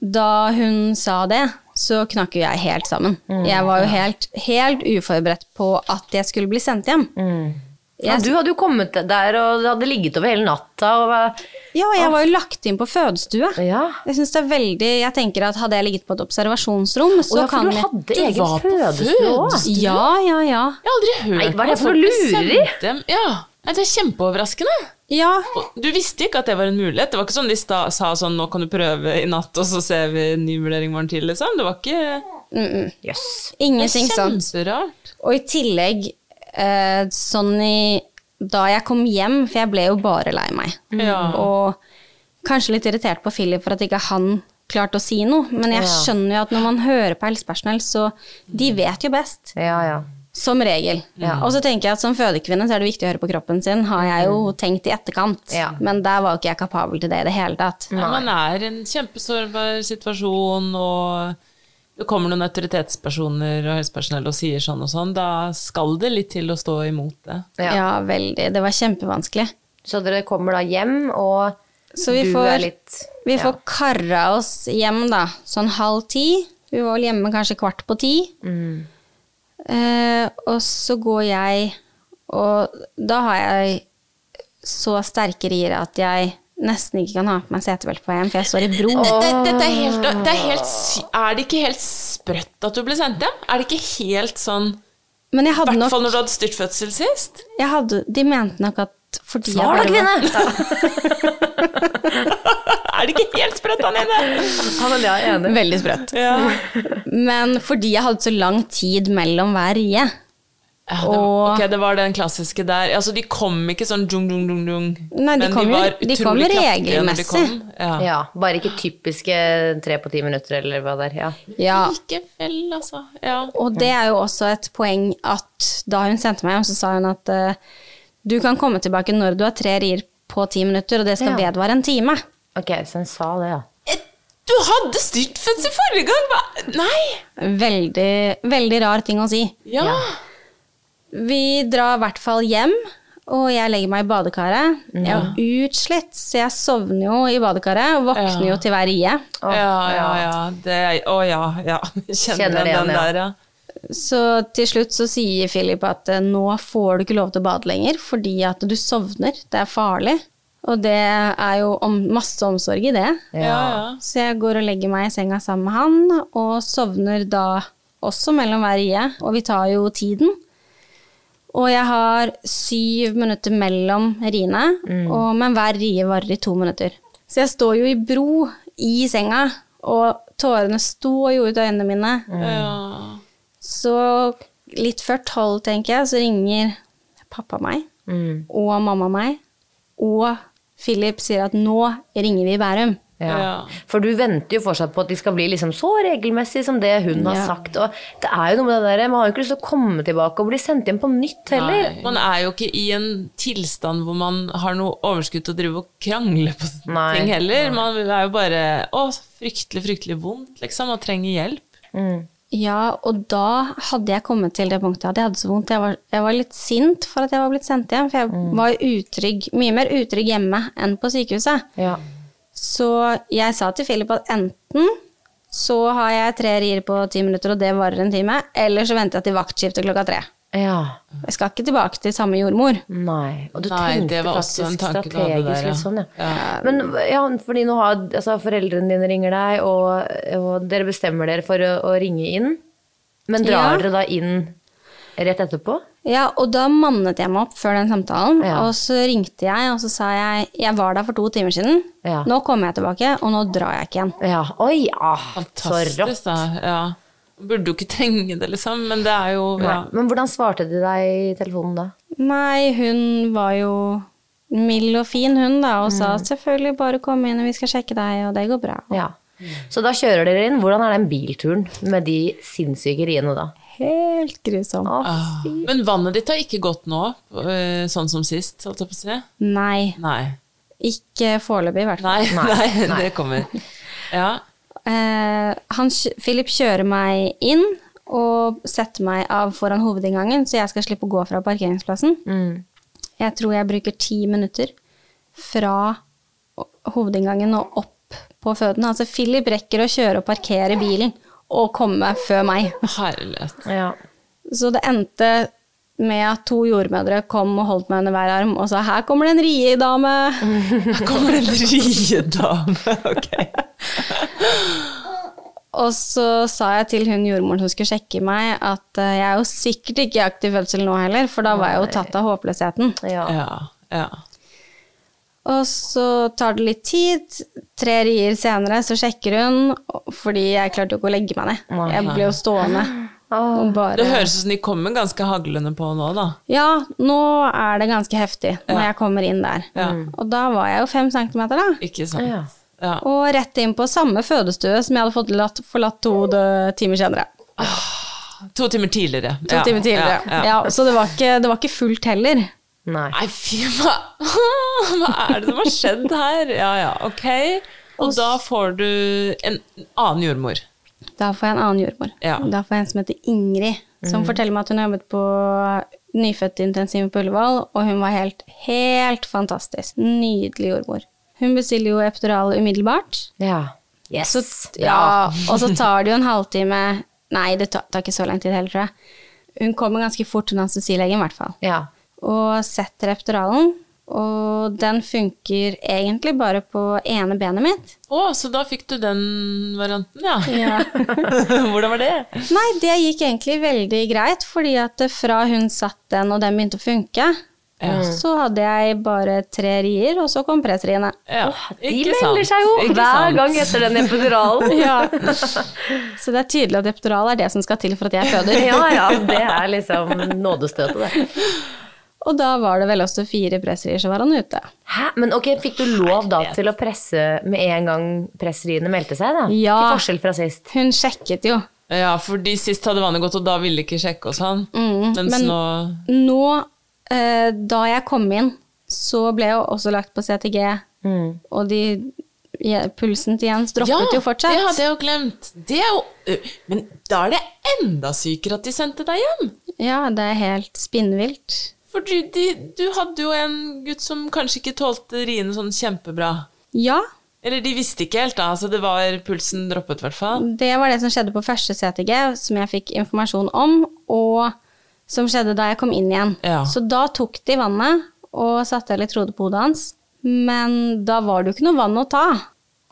Speaker 2: Da hun sa det, så knakk jo jeg helt sammen.
Speaker 1: Mm,
Speaker 2: Jeg var jo helt, helt uforberedt på at jeg skulle bli sendt hjem.
Speaker 1: Mm. Ja, du
Speaker 2: Jeg,
Speaker 1: hadde jo kommet der og det hadde ligget over hele natta. Og, var-
Speaker 2: ja, jeg var jo lagt inn på fødestue.
Speaker 1: Ja.
Speaker 2: Jeg synes det er veldig, jeg tenker at hadde jeg ligget på et observasjonsrom,
Speaker 1: Å
Speaker 2: så
Speaker 1: ja, for
Speaker 2: kan
Speaker 1: du
Speaker 2: jeg...
Speaker 1: hadde
Speaker 3: Du
Speaker 1: egen
Speaker 3: var på
Speaker 1: fødestue òg.
Speaker 3: fødestue?
Speaker 2: Ja, ja, ja.
Speaker 3: Jeg har aldri hørt
Speaker 1: Nei, hva er det
Speaker 3: om
Speaker 1: for
Speaker 3: folk
Speaker 1: noe
Speaker 3: blir
Speaker 1: lureri?
Speaker 3: sendt hjem. Ja, Nei, Det er kjempeoverraskende.
Speaker 2: Ja,
Speaker 3: Du visste ikke at det var en mulighet. Det var ikke sånn de sta, sa sånn 'nå kan du prøve i natt, og så ser vi en ny vurdering i morgen tidlig', liksom. Det var ikke
Speaker 1: Jøss.
Speaker 3: det
Speaker 2: ingenting
Speaker 3: er
Speaker 2: sånt.
Speaker 3: Kjemperart.
Speaker 2: Og i tillegg, eh, sånn i Da jeg kom hjem, for jeg ble jo bare lei meg.
Speaker 3: Ja.
Speaker 2: Og kanskje litt irritert på Philip for at ikke han klarte å si noe. Men jeg skjønner jo at når man hører på helsepersonell, så De vet jo best.
Speaker 1: Ja, ja.
Speaker 2: Som regel. Og så tenker jeg at som fødekvinne så er det viktig å høre på kroppen sin, har jeg jo tenkt i etterkant.
Speaker 1: Mm. Ja.
Speaker 2: Men der var jo ikke jeg kapabel til det i det hele tatt.
Speaker 3: Ja, man er i en kjempesårbar situasjon, og det kommer noen autoritetspersoner og helsepersonell og sier sånn og sånn, da skal det litt til å stå imot det.
Speaker 1: Ja.
Speaker 2: Ja. veldig. Det var kjempevanskelig.
Speaker 1: Så dere kommer da hjem, og
Speaker 2: Så vi
Speaker 1: du
Speaker 2: får-
Speaker 1: er litt
Speaker 2: Vi
Speaker 1: ja.
Speaker 2: får karra oss hjem, da. Sånn halv ti. Vi var vel hjemme kanskje kvart på ti.
Speaker 3: Mm.
Speaker 2: Eh, og så går jeg Og da har jeg så sterke rier at jeg nesten ikke kan ha på meg setebelte på vei hjem, for jeg står i bro.
Speaker 3: Dette, dette er, helt, det er, helt, sy- er det ikke helt sprøtt at du ble sendt hjem? Er det ikke helt sånn
Speaker 2: Men jeg
Speaker 3: I
Speaker 2: hadde
Speaker 3: hvert
Speaker 2: nok
Speaker 3: fall når du hadde styrtfødsel sist?
Speaker 2: jeg hadde, De mente nok at fordi jeg
Speaker 1: Var det
Speaker 2: bare var-
Speaker 1: kvinne?
Speaker 3: Er det ikke helt sprøtt, Anine?
Speaker 1: Ja, men det er jeg enig. i.
Speaker 2: Veldig sprøtt.
Speaker 3: Ja.
Speaker 2: Men fordi jeg hadde så lang tid mellom hver rie.
Speaker 3: Ja, det,
Speaker 2: Og-
Speaker 3: ok, det var den klassiske der. Altså, de kom ikke sånn dung, dung, dung, dung.
Speaker 2: Nei, de kom jo- de kom
Speaker 3: utrolig kraftige når de
Speaker 2: regelmessig.
Speaker 3: kom. Ja.
Speaker 1: Ja, bare ikke typiske tre på ti minutter, eller hva det er. Ja.
Speaker 2: Ja,
Speaker 3: Likevel, altså. Ja.
Speaker 2: Og det er jo også et poeng at da hun sendte meg hjem, så sa hun at eh, du kan komme tilbake når du har tre rier på ti minutter, og det skal
Speaker 1: Ja.
Speaker 2: vedvare en time.
Speaker 1: Ok, så hun sa det, ja.
Speaker 3: Du hadde styrtfødsel forrige gang! Hva? Nei!
Speaker 2: Veldig, veldig rar ting å si.
Speaker 3: Ja.
Speaker 2: Vi drar i hvert fall hjem, og jeg legger meg i badekaret. Jeg er utslitt, så jeg sovner jo i badekaret og våkner
Speaker 3: Ja.
Speaker 2: jo til hver rie.
Speaker 3: Ja, ja, ja. Det, å ja, ja. Kjenner,
Speaker 1: Kjenner det
Speaker 3: den,
Speaker 1: igjen, ja.
Speaker 3: der, ja.
Speaker 2: Så til slutt så sier Philip at eh, nå får du ikke lov til å bade lenger, fordi at du sovner. Det er farlig. Og det er jo om, masse omsorg i det.
Speaker 3: ja,
Speaker 2: Så jeg går og legger meg i senga sammen med han, og sovner da også mellom hver rie, og vi tar jo tiden. Og jeg har syv minutter mellom riene, og, men hver rie varer i to minutter. Så jeg står jo i bro i senga, og tårene står jo ut av øynene mine.
Speaker 3: ja.
Speaker 2: Så litt før tolv, tenker jeg, så ringer pappa meg, og mamma meg, og Philip sier at nå ringer vi Bærum.
Speaker 3: Ja.
Speaker 1: For du venter jo fortsatt på at de skal bli liksom så regelmessig som det hun har
Speaker 2: Ja.
Speaker 1: sagt. Og det er jo noe med det der, man har jo ikke lyst til å komme tilbake og bli sendt hjem på nytt heller.
Speaker 3: Nei, Man er jo ikke i en tilstand hvor man har noe overskudd til å drive og krangle på
Speaker 1: Nei,
Speaker 3: ting heller. Man er jo bare Å, fryktelig, fryktelig vondt, liksom, og trenger hjelp.
Speaker 2: Ja, og da hadde jeg kommet til det punktet at jeg hadde så vondt. Jeg var, jeg var litt sint for at jeg var blitt sendt hjem, for jeg
Speaker 1: Mm.
Speaker 2: var utrygg, mye mer utrygg hjemme enn på sykehuset.
Speaker 1: Ja.
Speaker 2: Så jeg sa til Philip at enten så har jeg tre rier på ti minutter, og det varer en time, eller så venter jeg til vaktskiftet klokka tre.
Speaker 1: ja.
Speaker 2: Jeg skal ikke tilbake til samme jordmor.
Speaker 1: Nei. Og du
Speaker 3: Nei, det
Speaker 1: tenkte
Speaker 3: var også en
Speaker 1: faktisk
Speaker 3: tanke du hadde
Speaker 1: strategisk
Speaker 3: der, ja.
Speaker 1: litt sånn, ja. Men ja, fordi nå har altså, foreldrene dine ringer deg, og, og dere bestemmer dere for å, å ringe inn. Men drar
Speaker 2: Ja.
Speaker 1: dere da inn rett etterpå?
Speaker 2: Ja, og da mannet jeg meg opp før den samtalen,
Speaker 1: Ja.
Speaker 2: og så ringte jeg, og så sa jeg jeg var der for to timer siden,
Speaker 1: Ja.
Speaker 2: nå kommer jeg tilbake, og nå drar jeg ikke igjen.
Speaker 1: Ja. Oi, ah, så rått.
Speaker 3: Fantastisk, da. Ja. Burde jo ikke trenge det, liksom, men det er jo ja.
Speaker 1: Nei. Men hvordan svarte de deg i telefonen da?
Speaker 2: Nei, hun var jo mild og fin, hun da, og sa selvfølgelig bare kom inn, og vi skal sjekke deg, og det går bra.
Speaker 1: Ja. Så da kjører dere inn. Hvordan er den bilturen med de sinnssyke riene da?
Speaker 2: Helt grusom.
Speaker 3: Ah. Men vannet ditt har ikke gått nå, eh, sånn som sist, holdt jeg på å si?
Speaker 2: Nei.
Speaker 3: Nei.
Speaker 2: Ikke foreløpig, i hvert fall.
Speaker 3: Nei,
Speaker 1: Nei,
Speaker 3: nei,
Speaker 1: nei.
Speaker 3: det kommer. Ja.
Speaker 2: Eh, han, kj- Philip kjører meg inn og setter meg av foran hovedinngangen, så jeg skal slippe å gå fra parkeringsplassen. Jeg tror jeg bruker ti minutter fra o- hovedinngangen og opp på føden. Altså, Philip rekker å kjøre og parkere bilen og komme før meg.
Speaker 3: Herlighet.
Speaker 1: Ja.
Speaker 2: Så det endte med at to jordmødre kom og holdt meg under hver arm og sa 'her kommer det en riedame'.
Speaker 3: Her kommer en riedame. Ok.
Speaker 2: Og så sa jeg til hun jordmoren som skulle sjekke meg, at eh, jeg er jo sikkert ikke i aktiv fødsel nå heller, for da var jeg jo tatt av håpløsheten.
Speaker 1: ja.
Speaker 3: Ja, ja.
Speaker 2: Og så tar det litt tid. Tre rier senere så sjekker hun, fordi jeg klarte jo ikke å legge meg ned. Jeg ble jo stående. Og
Speaker 3: Det
Speaker 2: bare
Speaker 3: høres ut som de kommer ganske haglende på nå, da.
Speaker 2: Ja, nå er det ganske heftig når jeg kommer inn der. Og da var jeg jo fem centimeter, da.
Speaker 3: Ikke sant? Ja.
Speaker 2: Og rett inn på samme fødestue som jeg hadde fått latt, forlatt to dø- timer senere.
Speaker 3: To timer tidligere.
Speaker 2: To
Speaker 3: Ja,
Speaker 2: timer tidligere. Ja,
Speaker 3: ja, ja.
Speaker 2: så det var, ikke, det var ikke fullt heller.
Speaker 1: Nei.
Speaker 3: Nei, fy, hva, hva er det som har skjedd her? Ja, ja, ok. Og da får du en annen jordmor.
Speaker 2: Da får jeg en annen jordmor.
Speaker 3: Ja.
Speaker 2: Da får jeg en som heter Ingrid, som forteller meg at hun har jobbet på nyfødtintensiv på Ullevål, og hun var helt, helt fantastisk. Nydelig jordmor. Hun bestiller jo epidural umiddelbart.
Speaker 1: Ja. Yes.
Speaker 2: Og så tar det jo en halvtime Nei, det tar, tar ikke så lang tid heller, tror jeg. Hun kommer ganske fort til anestesilegen, i hvert fall.
Speaker 1: Ja.
Speaker 2: Og setter epiduralen, og den funker egentlig bare på ene benet mitt.
Speaker 3: Å, så da fikk du den varianten, ja. Hvordan var det?
Speaker 2: Nei, det gikk egentlig veldig greit, fordi at fra hun satt den og den begynte å funke, så hadde jeg bare tre rier, og så kom pressriene.
Speaker 3: Ja,
Speaker 1: De
Speaker 3: ikke
Speaker 1: melder
Speaker 3: sant,
Speaker 1: seg jo
Speaker 3: ikke
Speaker 1: hver
Speaker 3: sant.
Speaker 1: gang etter den epiduralen.
Speaker 2: Så det er tydelig at epidural er det som skal til for at jeg føder.
Speaker 1: Ja, ja, det er liksom nådestøtet, det.
Speaker 2: Og da var det vel også fire pressrier, så var han ute.
Speaker 1: Hæ? Men ok, fikk du lov da til å presse med en gang presseriene meldte seg, da?
Speaker 2: Ja.
Speaker 1: Til forskjell fra sist.
Speaker 2: Hun sjekket jo.
Speaker 3: Ja, fordi sist hadde vannet gått, og da ville de ikke sjekke og sånn. Mens
Speaker 2: Mm, men-
Speaker 3: nå
Speaker 2: Nå, eh, da jeg kom inn, så ble jeg jo også lagt på CTG,
Speaker 3: Mm.
Speaker 2: og de, ja, pulsen til Jens droppet jo fortsatt.
Speaker 3: det hadde jeg jo glemt. Det er jo, men da er det enda sykere at de sendte deg hjem.
Speaker 2: Ja, det er helt spinnvilt.
Speaker 3: For du, de, du hadde jo en gutt som kanskje ikke tålte riene sånn kjempebra.
Speaker 2: Ja,
Speaker 3: Eller de visste ikke helt, da. Så det var pulsen droppet, i hvert fall.
Speaker 2: Det var det som skjedde på første CTG, som jeg fikk informasjon om, og som skjedde da jeg kom inn igjen.
Speaker 3: Ja.
Speaker 2: Så da tok de vannet og satte elektrode på hodet hans. Men da var det jo ikke noe vann å ta.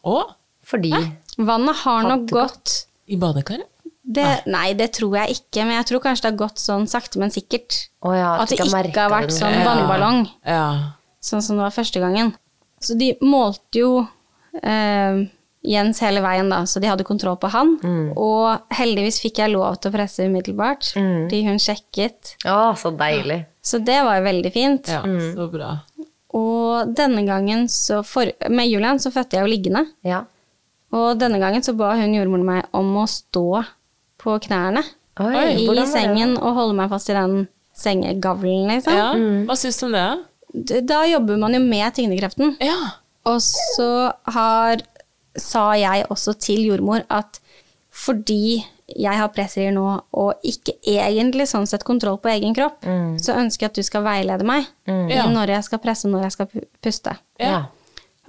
Speaker 3: Å,
Speaker 1: Fordi
Speaker 2: Vannet har nok gått
Speaker 3: i badekaret?
Speaker 2: det, Nei, det tror jeg ikke, men jeg tror kanskje det har gått sånn sakte, men sikkert.
Speaker 1: Å ja, at
Speaker 2: At
Speaker 1: du
Speaker 2: det
Speaker 1: ikke har
Speaker 2: ikke
Speaker 1: merket
Speaker 2: har vært
Speaker 1: det.
Speaker 2: sånn
Speaker 3: Ja.
Speaker 2: vannballong,
Speaker 3: Ja.
Speaker 2: sånn som det var første gangen. Så de målte jo eh, Jens hele veien, da, så de hadde kontroll på han.
Speaker 1: Mm.
Speaker 2: Og heldigvis fikk jeg lov til å presse umiddelbart,
Speaker 1: Mm.
Speaker 2: fordi hun sjekket.
Speaker 1: Å, så deilig.
Speaker 2: Så det var jo veldig fint.
Speaker 3: ja Så bra.
Speaker 2: Og denne gangen så for, Med Julian så fødte jeg jo liggende.
Speaker 1: Ja.
Speaker 2: Og denne gangen så ba hun jordmoren meg om å stå på knærne
Speaker 1: Oi, hvordan var
Speaker 2: i
Speaker 1: det?
Speaker 2: sengen og holde meg fast i den sengegavlen, liksom.
Speaker 3: Ja, Hva syns du om det?
Speaker 2: D- Da jobber man jo med tyngdekraften.
Speaker 3: Ja.
Speaker 2: Og så har, sa jeg også til jordmor at fordi jeg har pressrier nå, og ikke egentlig sånn sett kontroll på egen kropp,
Speaker 1: Mm.
Speaker 2: så ønsker jeg at du skal veilede meg i
Speaker 3: Ja.
Speaker 2: når jeg skal presse og når jeg skal pu- puste.
Speaker 3: Ja.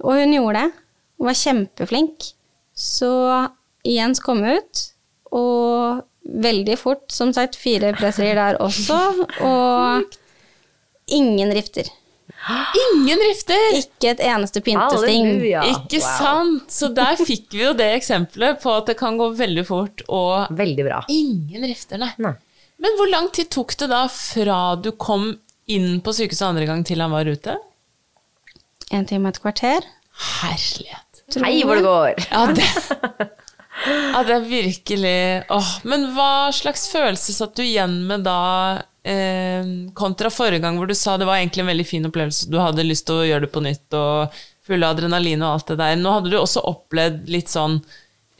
Speaker 2: Og hun gjorde det, og var kjempeflink. Så Jens kom ut, og veldig fort, som sagt, fire pressrier der også, og ingen rifter.
Speaker 3: Ingen rifter!
Speaker 2: Ikke et eneste pyntesting.
Speaker 1: Halleluja.
Speaker 3: Ikke sant? Så der fikk vi jo det eksempelet på at det kan gå veldig fort, og
Speaker 1: Veldig bra.
Speaker 3: ingen rifter, nei.
Speaker 1: Nei.
Speaker 3: Men hvor lang tid tok det da fra du kom inn på sykehuset andre gang til han var ute?
Speaker 2: En time og et kvarter.
Speaker 3: Herlighet.
Speaker 1: Hei, hvor det går.
Speaker 3: Ja, det, ja, det er virkelig åh. Men hva slags følelse satt du igjen med da, eh, kontra forrige gang, hvor du sa det var egentlig en veldig fin opplevelse, du hadde lyst til å gjøre det på nytt, og full av adrenalin og alt det der. Nå hadde du også opplevd litt sånn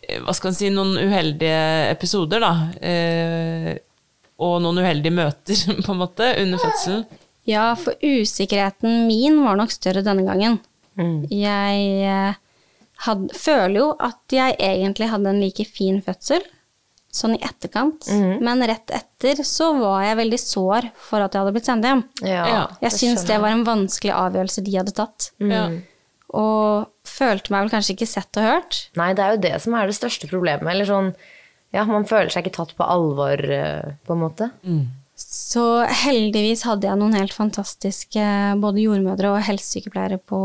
Speaker 3: eh, hva skal man si, noen uheldige episoder, da. Eh, og noen uheldige møter, på en måte, under fødselen.
Speaker 2: Ja, for usikkerheten min var nok større denne gangen. Mm. Jeg eh, hadde, føler jo at jeg egentlig hadde en like fin fødsel, sånn i etterkant. Men rett etter så var jeg veldig sår for at jeg hadde blitt sendt hjem.
Speaker 3: Ja.
Speaker 2: Jeg Mm. syns det var en vanskelig avgjørelse de hadde tatt.
Speaker 1: Mm.
Speaker 3: Ja.
Speaker 2: Og følte meg vel kanskje ikke sett og hørt.
Speaker 1: Nei, det er jo det som er det største problemet. Eller sånn, ja, man føler seg ikke tatt på alvor, eh, på en måte.
Speaker 2: Så heldigvis hadde jeg noen helt fantastiske både jordmødre og helsesykepleiere på,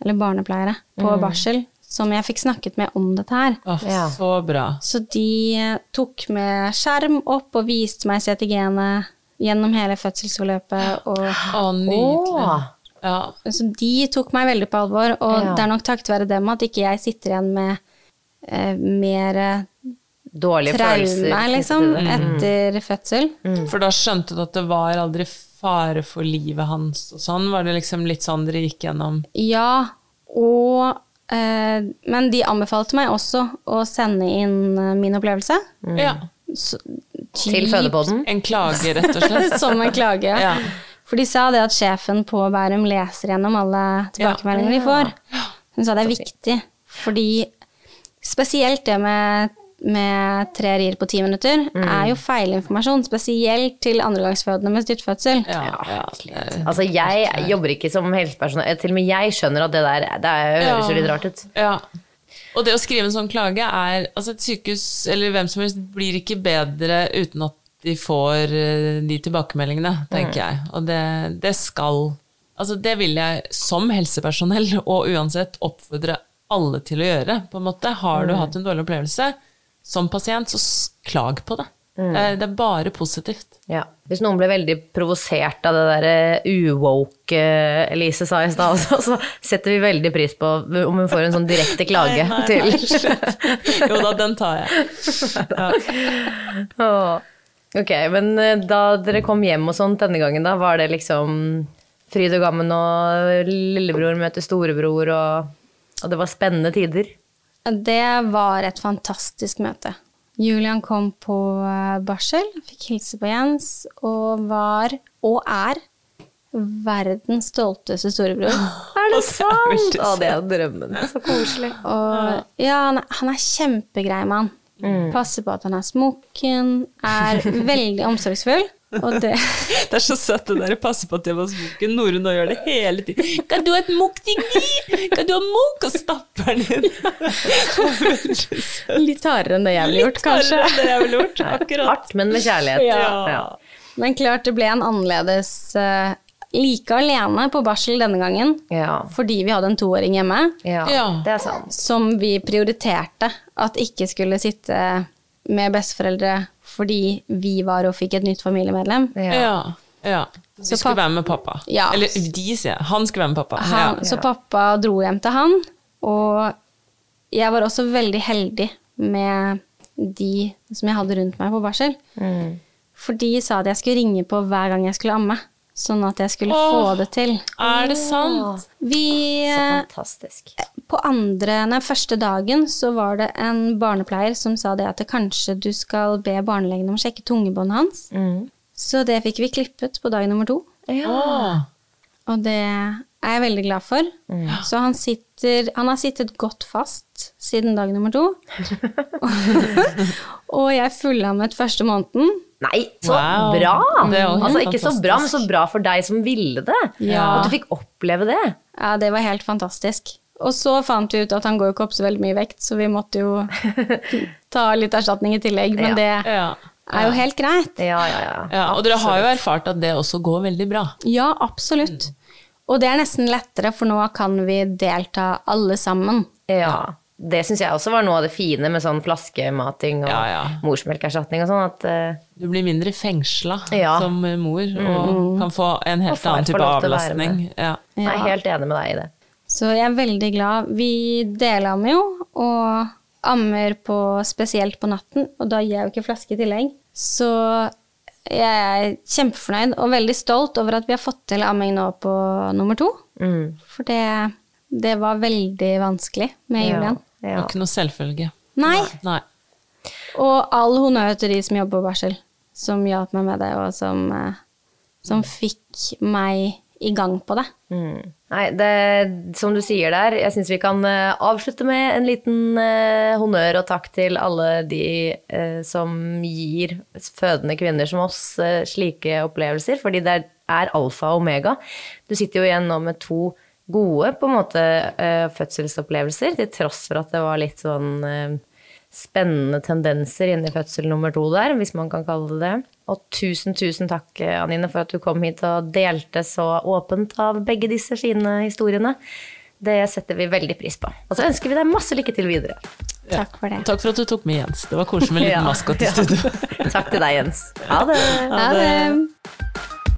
Speaker 2: eller barnepleiere på
Speaker 1: Mm.
Speaker 2: barsel, som jeg fikk snakket med om dette her.
Speaker 3: Åh,
Speaker 1: Ja.
Speaker 3: Så bra.
Speaker 2: Så de eh, tok med skjerm opp og viste meg CTG-ene gjennom hele fødselsforløpet. Og,
Speaker 3: Å, nydelig.
Speaker 1: Åh.
Speaker 3: Ja.
Speaker 2: så de tok meg veldig på alvor, og
Speaker 1: Ja.
Speaker 2: det er nok takket være dem at ikke jeg sitter igjen med eh, mer eh,
Speaker 1: Dårlige følelser. Mm.
Speaker 2: traume,
Speaker 1: knyttet
Speaker 2: liksom,
Speaker 1: til det.
Speaker 2: etter fødsel.
Speaker 3: For da skjønte du at det var aldri fare for livet hans og sånn? Var det liksom litt sånn dere gikk gjennom?
Speaker 2: Ja, og eh, Men de anbefalte meg også å sende inn eh, min opplevelse.
Speaker 3: Ja.
Speaker 2: Så,
Speaker 1: Til fødepodden.
Speaker 3: En klage, rett og slett.
Speaker 2: Som en klage.
Speaker 3: Ja.
Speaker 2: For de sa det at sjefen på Bærum leser gjennom alle tilbakemeldinger de får. Hun sa det er viktig, fordi spesielt det med, med tre rier på ti minutter
Speaker 3: Mm.
Speaker 2: er jo feilinformasjon. Spesielt til andregangsfødende med styrtfødsel.
Speaker 3: Ja, ja.
Speaker 1: Altså, jeg jobber ikke som helsepersonell. Til og med jeg skjønner at det der det er, høres jo litt rart ut.
Speaker 3: Ja. Og det å skrive en sånn klage er Altså, et sykehus eller hvem som helst blir ikke bedre uten at de får eh, de tilbakemeldingene,
Speaker 1: Mm.
Speaker 3: tenker jeg. Og det, det skal Altså, det vil jeg som helsepersonell og uansett oppfordre alle til å gjøre, på en måte. Har du
Speaker 1: Mm.
Speaker 3: hatt en dårlig opplevelse som pasient, så s- klag på det.
Speaker 1: Mm.
Speaker 3: Det er- Det er bare positivt.
Speaker 1: Ja. Hvis noen ble veldig provosert av det derre uwoke eh, Elise sa i stad også, så setter vi veldig pris på om hun får en sånn direkte klage til
Speaker 3: Jo da, den tar jeg.
Speaker 1: Åh. Ok, men eh, da dere kom hjem og sånt denne gangen, da var det liksom fryd og gammen og lillebror møter storebror og, og det var spennende tider.
Speaker 2: Det var et fantastisk møte. Julian kom på eh, barsel, fikk hilse på Jens, og var, og er, verdens stolteste storebror.
Speaker 1: Er det sant? Å, det er drømmen. Så koselig.
Speaker 2: Og ja, han er, han er kjempegrei mann. Passer på at han er smokken, er veldig omsorgsfull. Og det
Speaker 3: Det er så søtt det der å passe på at jeg var smokken. Norun nå gjør det hele tiden. Kan du ha et mokk-digni? Kan du ha mokk? Og stapper den inn.
Speaker 2: Litt hardere enn det jeg ville gjort, kanskje.
Speaker 3: Det er vel lurt, akkurat.
Speaker 1: Hardt, men med kjærlighet.
Speaker 3: Ja.
Speaker 2: Men klart det ble en annerledes eh, Like alene på barsel denne gangen
Speaker 1: Ja.
Speaker 2: fordi vi hadde en toåring hjemme.
Speaker 1: Ja,
Speaker 3: Ja.
Speaker 1: det er sant.
Speaker 2: som vi prioriterte at ikke skulle sitte med besteforeldre fordi vi var og fikk et nytt familiemedlem.
Speaker 1: Ja.
Speaker 3: Ja. ja. Du skulle være med pappa.
Speaker 2: Ja.
Speaker 3: Eller de, sier jeg. Han skulle være med pappa.
Speaker 2: Han, Så pappa dro hjem til han, og jeg var også veldig heldig med de som jeg hadde rundt meg på barsel. For de sa at jeg skulle ringe på hver gang jeg skulle amme, sånn at jeg skulle få
Speaker 3: Åh.
Speaker 2: det til.
Speaker 3: Ja. Er det sant?
Speaker 2: Vi eh,
Speaker 1: Så fantastisk.
Speaker 2: på andre, nei, første dagen så var det en barnepleier som sa det at kanskje du skal be barnelegen om å sjekke tungebåndet hans.
Speaker 1: Mm.
Speaker 2: Så det fikk vi klippet på dag nummer to,
Speaker 3: Åh.
Speaker 2: og det er jeg veldig glad for.
Speaker 1: Mm.
Speaker 2: Så han, sitter, han har sittet godt fast siden dag nummer to. og jeg fullammet første måneden.
Speaker 1: Nei, så
Speaker 3: Wow. Mm.
Speaker 1: bra!
Speaker 3: Det er jo helt
Speaker 1: Altså, ikke så
Speaker 3: fantastisk.
Speaker 1: bra, men så bra for deg som ville det.
Speaker 2: Ja.
Speaker 1: At du fikk oppleve det.
Speaker 2: Ja, det var helt fantastisk. Og så fant vi ut at han går jo ikke opp så veldig mye vekt, så vi måtte jo ta litt erstatning i tillegg, men
Speaker 1: Ja.
Speaker 2: det
Speaker 3: Ja.
Speaker 2: er jo helt greit.
Speaker 1: Ja, ja, ja.
Speaker 3: ja. Og dere har jo erfart at det også går veldig bra.
Speaker 2: Ja, absolutt. Og det er nesten lettere, for nå kan vi delta alle sammen.
Speaker 1: Ja. Det syns jeg også var noe av det fine med sånn flaskemating og
Speaker 3: Ja, ja.
Speaker 1: morsmelkerstatning og sånn. At eh,
Speaker 3: Du blir mindre fengsla
Speaker 1: Ja. Mm.
Speaker 3: som mor, og kan få en
Speaker 1: Og
Speaker 3: helt
Speaker 1: far
Speaker 3: annen
Speaker 1: får
Speaker 3: type
Speaker 1: lov til å være
Speaker 3: avlastning. Ja.
Speaker 1: jeg er helt enig med deg i det.
Speaker 2: Så jeg er veldig glad. Vi delammer jo, og ammer på, spesielt på natten, og da gir jeg jo ikke flaske i tillegg. Så jeg er kjempefornøyd og veldig stolt over at vi har fått til amming nå på nummer to.
Speaker 1: Mm.
Speaker 2: For det, det var veldig vanskelig med Julian.
Speaker 1: Ja.
Speaker 3: Det var ikke noe selvfølge.
Speaker 2: Nei.
Speaker 4: Nei.
Speaker 2: Og all honnør til de som jobber på barsel, som hjalp meg med det, og som, eh, som fikk meg i gang på det.
Speaker 1: Nei, det, som du sier der, jeg syns vi kan eh, avslutte med en liten eh, honnør og takk til alle de eh, som gir fødende kvinner som oss eh, slike opplevelser, fordi det er, er alfa og omega. Du sitter jo igjen nå med to gode på en måte eh, fødselsopplevelser, til tross for at det var litt sånn eh, spennende tendenser inni fødsel nummer to der, hvis man kan kalle det det. Og tusen, tusen takk, Anine, for at du kom hit og delte så åpent av begge disse fine historiene. Det setter vi veldig pris på. Og så ønsker vi deg masse lykke til videre.
Speaker 2: Takk for det.
Speaker 4: Takk for at du tok med Jens. Det var koselig med en liten
Speaker 1: Ja.
Speaker 4: maskot i
Speaker 1: Ja.
Speaker 4: studio.
Speaker 1: Takk til deg, Jens. Ha det.
Speaker 2: Ha det.